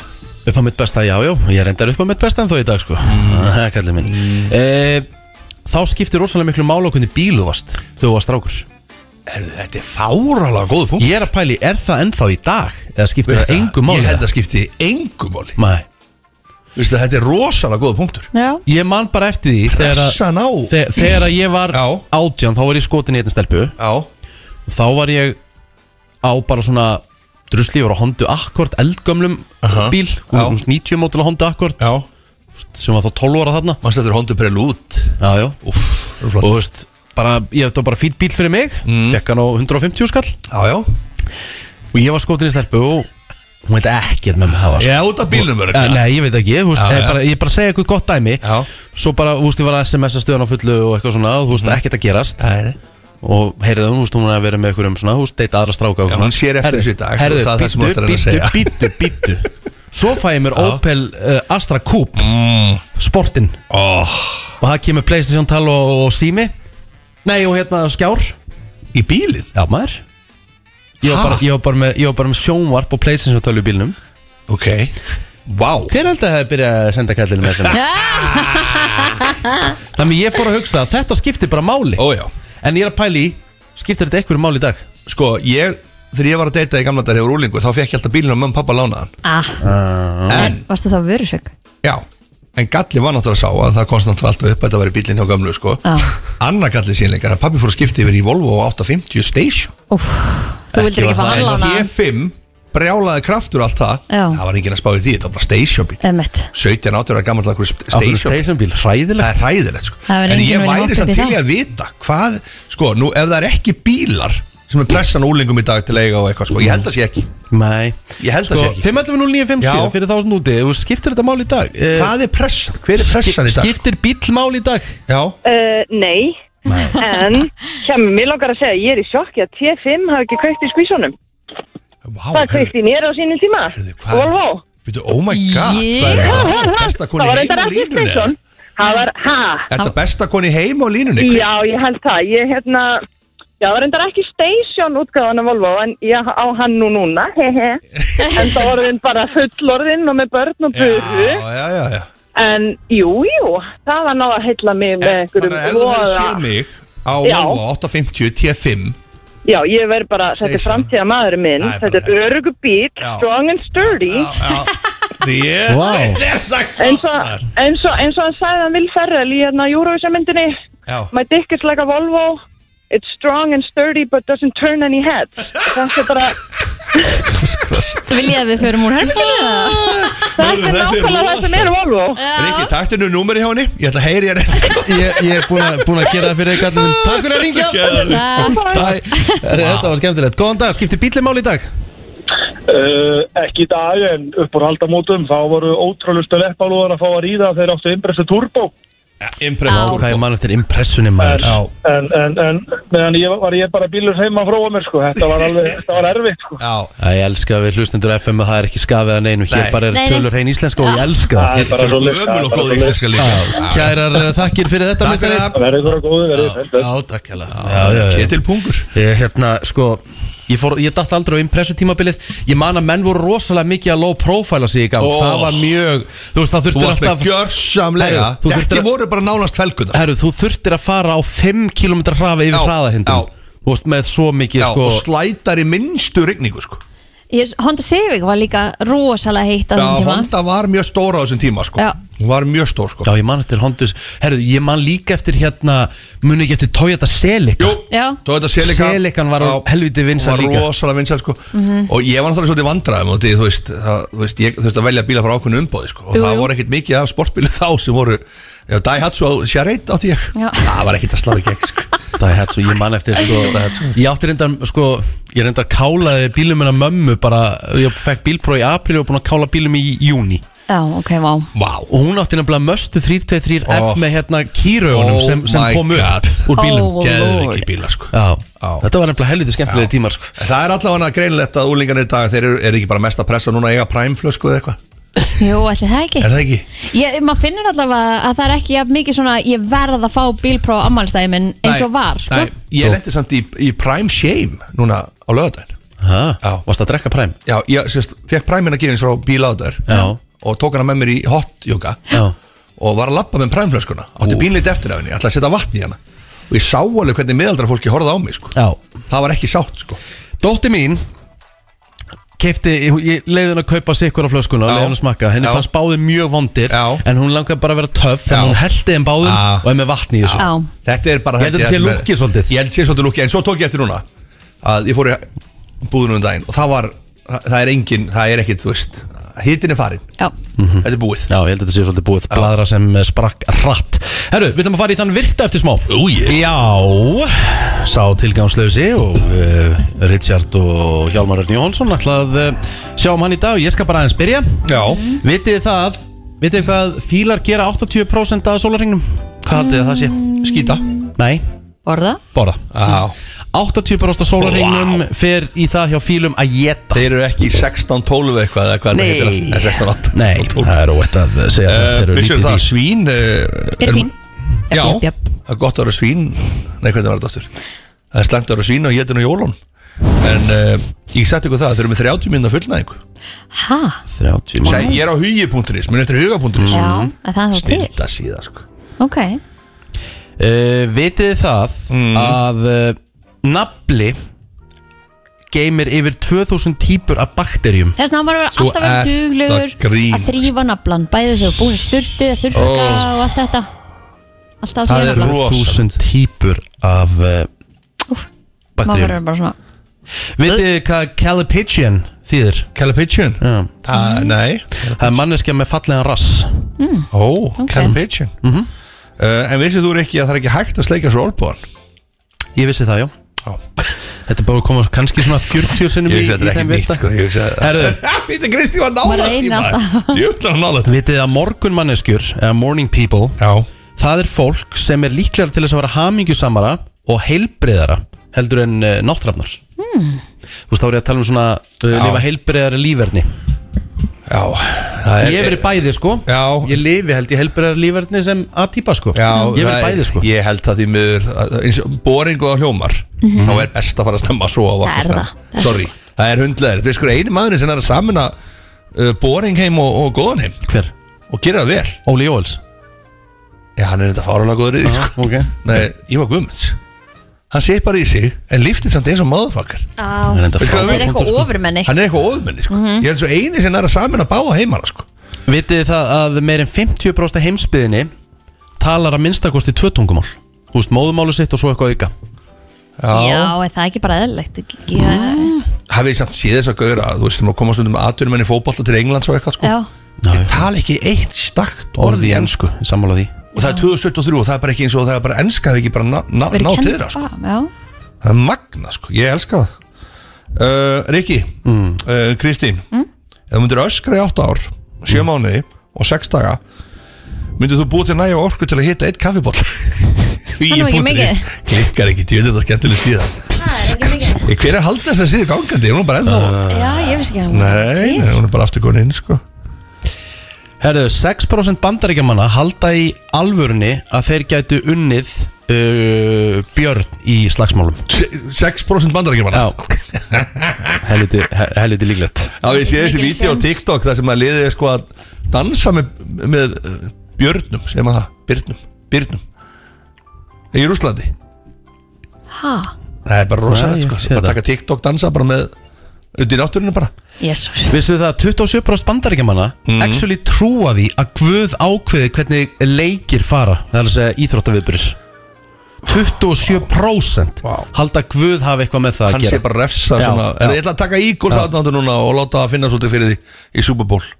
upp á mitt besta, já, já, ég reyndar upp á mitt besta en þó í dag, sko, það er kallið minn e, þá skiptir rosalega miklu mála hvernig bíl þú varst, þegar þú varst strákur
Herði, þetta er fáralega góð punkt
ég er að pæli, er það ennþá í dag eða skiptir
Veist
það engu
Ég
máli
held að skipti engu máli
Nei,
Veistu, þetta er rosalega góða punktur
já,
ég man bara eftir því þegar,
Pressan á.
að, þe þegar að ég var
Já.
átján, þá var ég skotin í einn stelpu
Já,
og þá var ég á bara svona drusli, ég var á Honda Accord eldgömlum
Aha.
bíl,
Já.
90 mótil á Honda Accord
já
sem var þá 12 ára þarna
Manstu eftir hóndu brel út
já, já,
Úff, það er
og
flott
þú veist bara, ég þetta var bara fýtt bíl fyrir mig
Mm.
fekk hann á 150 skall
Já, já
og ég var skotin í stelpu og hún veit ekkert með mig hafa sko.
Ég er út af bílnum
Eh, Nei, ég veit ekki, þú veist,
Já,
ég,
já.
bara, ég bara segja eitthvað gott dæmi
Já.
Svo bara, þú veist, ég var að SMS-a stöðan á fullu og eitthvað svona og Þú
Mm.
veist, ekkert að gerast
Nei, nei.
Og heyrðu hún, þú veist, hún er að vera með einhverjum svona Þú veist, deyta aðra stráka og
Já,
svona.
hún sér eftir
Heyrðu,
þessu í dag,
Heyrðu,
það er það sem þú ert að reyna að
býttu,
segja.
býttu, býttu, býttu Svo fæ ég mér Opel uh, Astra Coupe
Mm.
Sportin
Ó,
Og það kemur Playstation tal og, og sími Nei, og hérna skjár
Í bílinn
Já, maður Ég var, bara, ég, var bara með, ég var bara með sjónvarp og Playstation tölu í bílnum
Ok Vá
Hver held að það hefði byrjað að senda kallinu með SMS? Þannig ég fór að hugsa að þetta skiptir bara máli
Ó, já
En ég er að pæli í, skiptir þetta einhverju máli í dag?
Sko, ég Þegar ég var að deyta í gamla dagar hefur úlingu Þá fekk ég alltaf bílinn á mömmu og pappa lánaðan
ah,
En
varstu þá vörusök
Já, en galli var náttúrulega sá að það komst náttúrulega alltaf upp að þetta var í bílinn hjá gamlu sko.
Já.
Anna galli sínleikar að pappi fór að skipta yfir í Volvo á 850 Station
Úf, þú vildir
var
ekki fá
það
hann
En
lána
T5 brjálaði kraftur og allt það
Já.
það var enginn að spá í því, þetta var bara station bíl
Emmett
17 áttur að gammal akkur
Ákveður
station bíl
station bíl,
það
hræðilegt
er hræðilegt sko.
Það verður
en
enginn
ég
að
væri
vilja hoppa upp
samt
í
til
það.
í að vita hvað, sko, nú ef það er ekki bílar sem er pressan úlingum í dag til að eiga og eitthvað, sko, ég held að sé ekki
Nei
Ég held að
Sko,
sé ekki.
511-0957
Já.
fyrir þá sem úti Þú skiptir þetta mál í dag Eh,
hvað er pressan, hver er pressan í dag sko?
Skiptir bíl mál í dag
já,
Uh, nei, en kemur, mér langar að segja, ég er í sjokki að T5 hafi ekki kveikt í skvísunum.
Vá,
Það
heyrðu,
kveikti í mér á sínum tíma.
heyrðu, hvað er-
Volvo.
Bíddu, oh my god,
Ég-
hvað er
Ha, ha,
það
ha. Það var
besta koni heim
reyndar
á
ekki
línunni eða?
kveiktun. Það var, ha?
er það besta koni heim á línunni Hver-
Já, ég held það. Ég, hérna, já, það var reyndar ekki station útgáðan af Volvo, en ég á hann nú núna, hehe. En það orðin bara fullorðinn og með börn og böðu.
já, já, já, já.
En, jú, jú, það var náða að heilla mig með
En,
einhverjum
þannig að ef þú hefur séð mig á
Já.
Volvo 850 T5
Já, ég verð bara, þetta er
Station.
framtíða maðurinn minn,
Nei, bara
þetta er
þetta.
örugu bíl,
Já.
strong and sturdy.
Já, já. Þér-
Vá.
Þetta er það
eins og,
gott
eins og, eins og hann sagði hann vil ferðal í hérna Eurovision myndinni
Já.
My dick is like a Volvo It's strong and sturdy but doesn't turn any heads Það er bara
Vil ég að við förum úr herbygginu?
Það er nákvæmlega það sem er Volvo
Rikki, taktu nú númeri hjá henni Ég ætla að heyri hér
Ég, ég er búin að, búin að gera það fyrir ekki allir Takk fyrir að ringja
eftir
Æ, herri, Þetta var skemmtilegt Góðan dag, skiptir bíl mál í dag
Uh, ekki í dag en upp úr haldamótum þá voru ótrúlustu leppalúðar að fá að ríða þegar áttu innbrestu turbo
Impressa
Hvað er mann eftir impressunni maður
Já,
en, en, en meðan ég var ég bara bílur heima að fróa mér sko, þetta var alveg, þetta var erfitt sko.
já
Æ, ég elska að við hlustendur FM að það er ekki skafið að neinu Hér
Nei.
bara er
Nei, nei.
tölur hrein íslenska og ég elska
Það er
það
bara
Þetta
svo
er ömul og góð íslenska líka Já.
Kærar eh, þakkir fyrir þetta
Takk
meistari.
fyrir það.
Verðið þurra góði, verðið
Já,
fælst
takk hella Já, já, já.
Ketil Pungur
Ég, hérna, sko, ég, fór, ég datt aldrei á impressu tímabilið Ég man að menn voru rosalega mikið að low profile sig í gang
Ó.
Það var mjög, þú veist, það
Þú
þurftir
varst með
alltaf
gjörsamlega
Herru, þú þurftir
Þetta
að-
voru bara nánast felgunar
Herru, þú þurftir að fara á 5 km hraða yfir
Já, já.
hraðahindum Þú veist, með svo mikið,
Já,
sko
og slætar í minnstu rigningu sko
Ég- Honda Civic var líka rosalega heitt á
Já,
þessum tíma
Honda var mjög stór á þessum tíma sko
Já.
Hún var mjög stór sko
Já, ég man eftir Hondus Herru, ég man líka eftir hérna Muni ekki eftir Toyota Celica
Jú,
Já.
þú veit að Selika
Celican var á helviti vinsæl
Hún
líka.
var rosalega vinsæl sko
Mhm.
Og ég var náttúrulega svolítið vandræðum og því, þú veist, það, þú veist Ég þurfti að velja bíla frá ákveðinu umbóði sko Og
Jú,
það
jú.
voru ekkert mikið af sportbílu þá sem voru Já, Daihatsu á Shareit átti ég
Já.
Það var ekkert að slá í gegn sko
Daihatsu, ég man eftir sko, Ég átti reyndar, sko, ég reyndar kálaði bílum minna mömmu bara, ég fekk bílpróf í april og búin að kála bílum í júni
Já, ok, vá
Vá
og hún átti nefnilega möstu 323
Oh.
F með hérna kýrögunum
Oh
sem, sem
my
kom
God.
upp úr bílum
Oh,
Geður
Lord.
ekki bíla sko
Já,
Já.
þetta var nefnilega helviti skemmtilegi
Já.
tímar sko.
En Það er allavega greinlegt að úlingarnir í dag Þeir eru, eru ekki bara mest að pressa núna að eiga præmflösku eða eitthvað
Jú, ætli það ekki
Er það ekki?
Ég, maður finnur allavega að það er ekki jafn mikið svona ég verð að fá bílpróf ammálstæði minn eins og
Nei,
var, sko
Nei, ég lendi samt í, í Prime Shame núna á lögadaginn
ha,
Já.
Varst að drekka præm?
Já, ég sérst, fekk præmina gefins frá bílaðar
Já.
og tók hana með mér í hot yoga
Já.
og var að lappa með præmflöskuna átti
Úff.
bínleitt eftir af henni, ætlaði að setja vatn í hana og ég sá alveg hvernig miðaldra fólki horfði á mig sko.
Já
það var ekki sátt sko.
Dótti mín keipti, ég leiði hún að kaupa sikkur á flöskuna og
Já.
leiði hún að smakka, henni
Já.
fannst báðir mjög vondir
Já.
en hún langaði bara að vera töff
Já.
þannig hún heldi þeim báðum
Já.
og er með vatni í þessu
Já.
þetta er bara
Ég held að þetta sé
sem er-
lúkkið svolítið.
ég held sé svolítið lúki, en svo tók ég eftir núna að ég fór í búðunum um daginn og það var, það, það er engin það er ekkit, þú veist, hittin er farin
Já,
þetta er búið
Mhm. Já, ég held að þetta sé svolítið búið Bladra sem eh, sprakk rætt Herru, við ætlum að fara í þann virta eftir smá Ú, ég Já, sá tilgangslösi og uh, Richard og Hjálmar Örn Jóhansson ætla að uh, sjá um hann í dag og ég skal bara aðeins byrja
Já,
Vitið þið það, vitið þið hvað fílar gera 80% af sólarhengnum? Hvað haldið þið að það sé?
skýta
Nei,
borða
borða
Já.
80% af sólarhengnum fer í það hjá fílum að geta
Þeir eru ekki 16-12 eitthvað eða hvað þetta heitir Nei, 16-8
Nei, það er óvægt að segja það, þeir
Uh,
eru
Vissum
lítið
það
í
að svín uh,
Er fín
Já,
Jöp, jöp.
það er gott að vera svín Nei, hvernig var þetta aftur? Það er slangt að vera svín og ég nú jólun En uh, ég sett ykkur það, þeir eru með 30 minna fullnæðingu
30
Sæ, Ég er á hugi.is, minn eftir huga.is
Já,
Mm.
en það er þá til
Snilda síða sko
Ok,
Uh, vitið þið það
Mm.
að uh, nafli geymir yfir 2000 típur af bakterjum
þess vegna á maður að vera
Þú
alltaf verið
ert að
duglugur að
grínast.
þrýfa naflan, bæði þegar búin í sturtu þurrka og allt þetta Alltaf að
Það
þrýfa
er
naflan
rosa.
2000 típur af uh,
Úff, Maður
bakterjum
verður bara svona
Vitið þið hvað calipigian þýðir?
Calipation?
Já.
Mhm.
Það, nei
Það er manneskja með fallega rass
Ó, Calipation
Mhm.
Uh, en vissið þú ekki að það er ekki hægt að sleika svo olbúan?
Ég vissi það, já
Já.
Þetta er bara að koma kannski svona 40 sinnum
Ég vissi að þetta er ekki nýtt sko Ég vissi að
Herðu,
Býta Kristi var
Maður
nálægt í
reynir alltaf.
maður Jöfnlega nálægt
vitið þið að morgun manneskjur eða morning people
Já
það er fólk sem er líklega til þess að vera hamingjusamara og heilbreyðara heldur en uh, náttrafnar hmm. Þú veist, þá er ég að tala um svona uh, lifa heilbreyðara lífverðni
Já það
Ég hef verið bæði, sko
Já.
Ég lifi held ég heilbreyðara lífverðni sem A-típa, sko
Já, það
Ég hef verið
er-
bæði, sko
Ég held að því miður að- eins og Boring og hljómar Þá er best að fara að snemma svo á
Það er
það Sorry, það er hundleðir Þetta er sko eini maðurinn sem er að samuna uh, Boring heim og, og góðan heim
Hver?
Og gera það vel
Óli Jóels
Já, hann er þetta fárulega góður í því sko
okay.
Nei, ég var guðmunds Hann sé bara í sig En líftir samt eins og maðurfakkar
Á,
Það er enda
Veistu hvað
Það er
frábær punktur,
eitthvað
sko.
ofurmenni
Hann er eitthvað ofmenni sko Ég er eins og eini sem er að samuna báða heimana sko
Vitið þið það að meir en 50% af heimsbyðinni talar að minnstakosti tvö tungumál Þú veist, móðumálu sitt og svo eitthvað auka
Já, er það ekki bara eðlilegt Já,
Mm. Hafið þið samt séð þess að gauðra Þú veist, maður komast undir með atvinnum enn í fótbolta til England svo eitthvað sko
já,
Ég tala ekki eitt stakt orð í ennsku
ég sammála því
Og það er 2023 og það er bara ekki eins og það er bara ennska Það er ekki bara ná- ná-
verið
ná til
kennt
þeirra sko
fram, já
Það er magna sko, ég elska það uh, Riki,
Mm.
uh, Kristín
Mm?
Ef þú myndir öskra í 8 ár 7 mánuði og 6 daga Myndir þú búið til næja orku til að hitta eitt kaffiból Því
nú ekki mikið.
Klikkar ekki djöðu þetta skemmtileg síðan
Það er ekki mikið
Ég, Hver er að halda þess að síðu gangandi? Er hún bara ennþá?
Já, ég vissi ekki að hann var
nei,
til.
nei, hún er bara aftur komin inn sko
Herðu, 6% bandaríkjamanna halda í alvörunni að þeir gætu unnið uh, björn í slagsmálum
6% bandarækjumanna
Já Helviti, he- helviti líklegt
Já, ég sé þessi
Mikil
vídeo á
sjens.
TikTok þar sem að liðið er sko að dansa með, með uh, björnum, segir maður það, björnum, björnum í Rúslandi
Ha,
Það er bara
Nei,
rosalega
ég
sko,
sé
bara
það.
taka TikTok dansa bara með undir náttúrinu bara
jésús
Vissu það að 27% bandaríkjamanna
Mhm.
actually trúa því að Guð ákveði hvernig leikir fara það er að segja íþróttaviðburir 27%
Vá.
halda að Guð hafi eitthvað með það
Hann
að
sé
gera
bara refsa
Já,
svona,
já.
en ég ætla að taka Ígors aðnáttu núna og láta það finna svolítið fyrir því í Super Bowl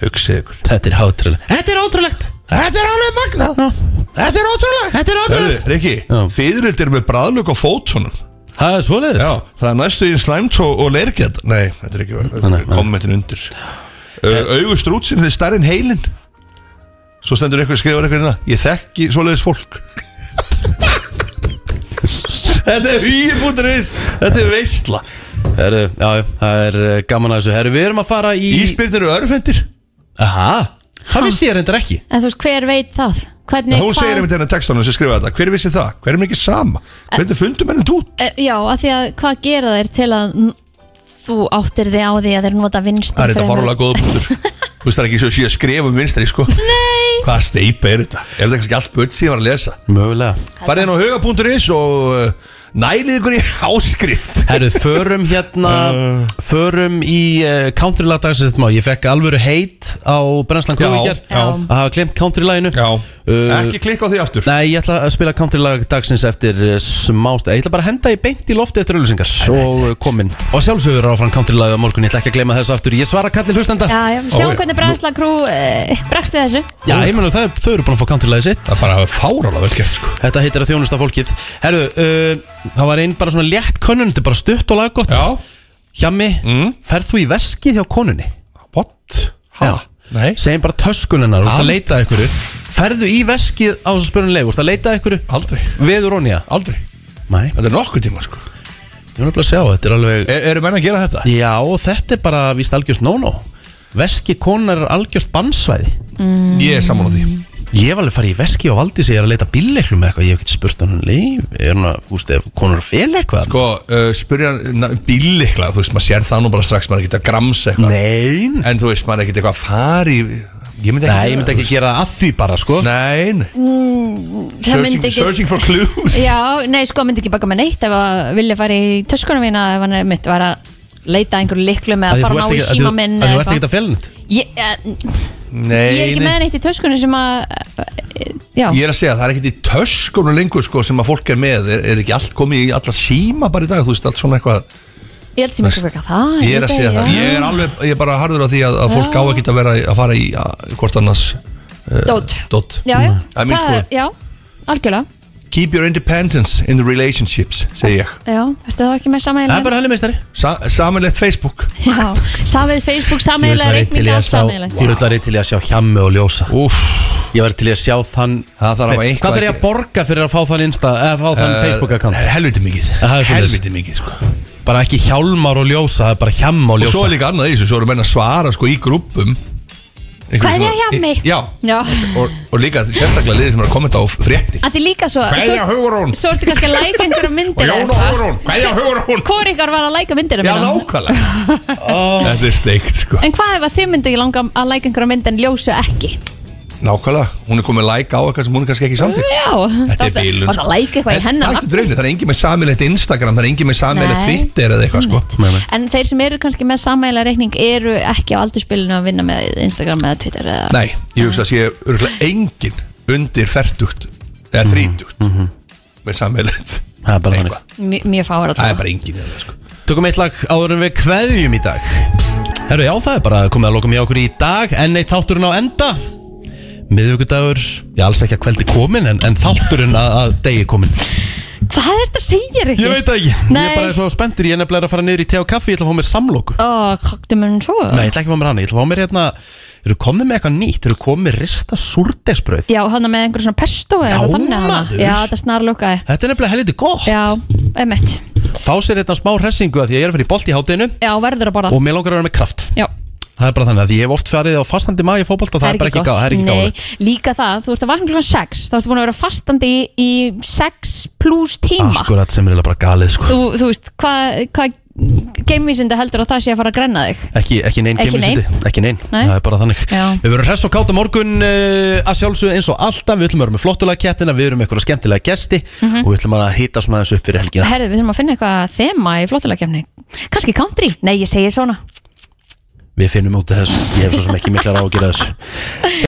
Hugsið ykkur
Þetta er hátrúlega Þetta er ótrúlegt
Þetta er alveg magnað Þetta er ótrúlega
Þetta er ótrúlegt
Riki,
Já.
fyririldið er með bræðlöku á fótunum
Það er svoleiðis
Já, það er næstu í slæmt og, og leirgjad Nei, þetta er ekki
nei, nei.
kommentin undir uh, Augu strútsin er stærri en heilin Svo stendur einhver skrifur einhver hérna Ég þekki svoleiðis fólk Þetta er hýjibúturis Þetta er veistla
Herru, já, já, það er eh, gaman að þessu Herru, við erum að fara í
Ísbyrnir eru örfendir
Aha, það vissi ég reyndar ekki
En þú veist, hver veit það? Hvernig,
Hún segir einmitt hérna textanum sem skrifa þetta Hver vissi það? Hver er mikið sama? Hvernig fundu menn þetta út?
Eh, Já, af því að hvað gera þeir til að n- þú áttir þig á því að þeir nota vinst
Það er þetta farulega góða bútur Þú veist það er ekki svo sé að skrifa um vinstri sko Nei Hvaða steipa er þetta? Er þetta kannski allt börn sem ég var að lesa?
Mögulega
farið inn á huga.is og uh, nælið ykkur í áskrift
Herru, förum hérna Förum í uh, countrylag dagsins þetta má Ég fekk alvöru heit á Brennslan
Já,
Kóvíkjar
já.
Að hafa glemt countrylaginu uh,
ekki klikka á því aftur
Nei, ég ætla að spila countrylag dagsins eftir eh, smást Ég ætla bara að henda í beint í lofti eftir öllusingar Og komin Og sjálfsögur áfram countrylagið á morgun Ég ætla ekki að gleyma þessu aftur Ég svara kallir hlustenda
Já, já,
Ó,
sjáum
já.
hvernig bræðsla krú uh, bregst við þessu
Já, ég menna þau, þau eru búin að fá countrylagið sitt
það er bara að hafa fárálega vel gert sko
Þetta heitir að þjónusta fólkið Herru, uh, það var einn bara svona létt könnun Þetta er bara stutt og laggott Hjami, ferð þú í veskið hjá konunni?
what?
Já.
nei
Segjum bara töskuninnar, þú ert að
Aldrei.
leita að einhverju Ferðu í veskið á þessu spörunlegu, þú ert að leita að einhverju
aldrei
Veður onja?
aldrei
Nei,
þetta er nokkuð tíma sko
ég vil bara sjá, þetta er alveg
er, eru menn að gera þetta?
Já, þetta er bara víst algjört no-no Veski konar er algjört bannsvæði
ég er saman á því
Ég var alveg að fara í veski og valdi sig Ég er að leita bílleiklu með eitthvað, ég hef ekki spurt hann um leif Er hann að, úst, ef konar fel eitthvað
sko uh, spyrja na- bíllikla þú veist maður sér það nú bara strax maður er ekkert að gramsa eitthvað
Nein
en þú veist maður er ekkert eitthvað að fara í ég myndi ekki
Nei, ég myndi ekki gera það að því bara, sko
nein
Það myndi
searching,
ekki
searching for clues
Já, nei, sko, myndi ekki baka með neitt ef að vilja fara í töskunum mína ef hann er mitt var að leita að einhverju liklu með að
Af því
fara
þú ert
að ná í
ekki- af því-
síma minn
af því Þú ert
eða
ekki
eitthvað
að fjölnit
Ég eh,
nei,
ég er ekki
nei.
með neitt í töskunum sem að eh, Já,
Ég er að segja, það er ekkert í töskunum lengur sko, sem að fólk er með, er, er ekki allt komið í alla síma bara í dag, þú veist, allt svona eitthvað
Ég held sem ekki fyrir það
Ég er að segja það Ég er alveg, ég er bara harður á því að, að fólk á ekki að vera að fara í að, hvort annars uh,
Dót.
Dót
Já, já,
Það er mín
það er,
skoðun.
já, algjörlega
Keep your independence in the relationships, segi ég
Já, ertu þá ekki með sameiginlega
bara henni meistari
Sa Samanlegt Facebook
Já, sameiginlega Facebook, sameiginlega reikninga, allt sameiginlega
Djúvöldari til ég að sjá hjammi og ljósa Úf. Ég var til ég að sjá þann
Það þarf að hafa eitthvað
Hvað þarf ég að borga fyrir að fá þann, Insta, eða, fá þann
Eh,
Facebook account?
Helviti mikið
Það er svoleiðis.
Helviti mikið, sko
Bara ekki hjálmar og ljósa, það er bara hjamma og
Og
ljósa
svo er líka annað í þessu, svo eru menn að svara sko í grúppum Einhver
Kveðja
svona-
hjá
í-
mig.
Já,
Já,
og, og líka sérstaklega liðið sem er að kommenta á frétti
að því líka svo
Kveðja
svo-
Hugrún.
Svo ertu kannski að læka einhverja
Og
myndir
Jón og Hugrún, hverja Hugrún
Hvor ykkar var að læka myndir
Já, nákvæmlega Þetta er steikt, sko
En hvað ef að þið myndu ekki langa að læka einhverja mynd en ljósu ekki?
Nákvæmlega, hún er komið like á eitthvað sem hún er kannski ekki samþýtt
Já,
Þetta er sko. bílun
Var það
sko.
að læka eitthvað í hennar
Þetta er draunir, það er engin með samilegt Instagram, það er engin með samilegt
Nei.
Twitter eða eitthvað sko
En þeir sem eru kannski með samægilega reikning eru ekki á aldurspilinu að vinna með Instagram eða Twitter eða...
Nei, ég hugsa að sé örgulega engin undir fertugt eða þrítugt með samilegt
Það er bara þannig.
eitthvað.
Mj- Mjög fáar að
Það er bara engin eða sko
Tökum eitt lag áður en við kveðjum í dag Herru, já það er bara komið að lokum hjá okkur í dag Enn eitt þátturinn á enda Miðvíkudagur, já alls ekki að kveldi komin En, en þátturinn að, að degi komin
Hvað er þetta að segja, Rikki?
Ég veit það ekki, ég
Nei.
er bara svo spenntur Ég er nefnilega að fara niður í te og kaffi, ég ætla að fá mér samloku
Ó, kaktu mér hún svo?
Nei, ég ætla ekki að fá mér hann, ég ætla að fá mér hérna Þeir eru komið með eitthvað nýtt, þeir eru komið með rista súrdesbröð
Já, hann með einhver svona pesto eða
Já,
eitthvað þannig hana.
maður.
Já, þetta snarlokkaði.
Þetta er nefnilega helviti gott
Já, emitt.
Fá sér hérna smá hressingu að því að ég er að fyrir bolt í hátinu
Já, verður að borða.
Og mér langar að vera með kraft
Já,
Það er bara þannig að því ég hef oft farið á fastandi maga í fótbolt og það er bara ekki, gá, það er ekki gáður
Nei, líka það, þú ert að vakna klokkan 6, þá ertu búin að vera fastandi í, í 6 pluss tíma.
Akkurat sem er eiginlega bara galið sko
Þú, þú veist, hvað hva, geimvísinda heldur að það sé að fara að grenna þig?
Ekki, ekki neinn
Ekki
geimvísindi, ekki neinn,
Nei.
það er bara þannig
Já.
Við verum hress og káta morgun uh, að sjálfsögðu eins og alltaf Við ætlum að vera með flottulega kettina, við erum með eitthvað skemmtilega gesti
Mhm.
Og við ætlum að hýta svona þessu upp fyrir helgina
Herðu, við þurfum að finna eitthvað þema í flottulegkefni Kanski country? Nei, ég segi svona
Við finnum út af þessu, ég hef svo sem ekki miklar á að gera þessu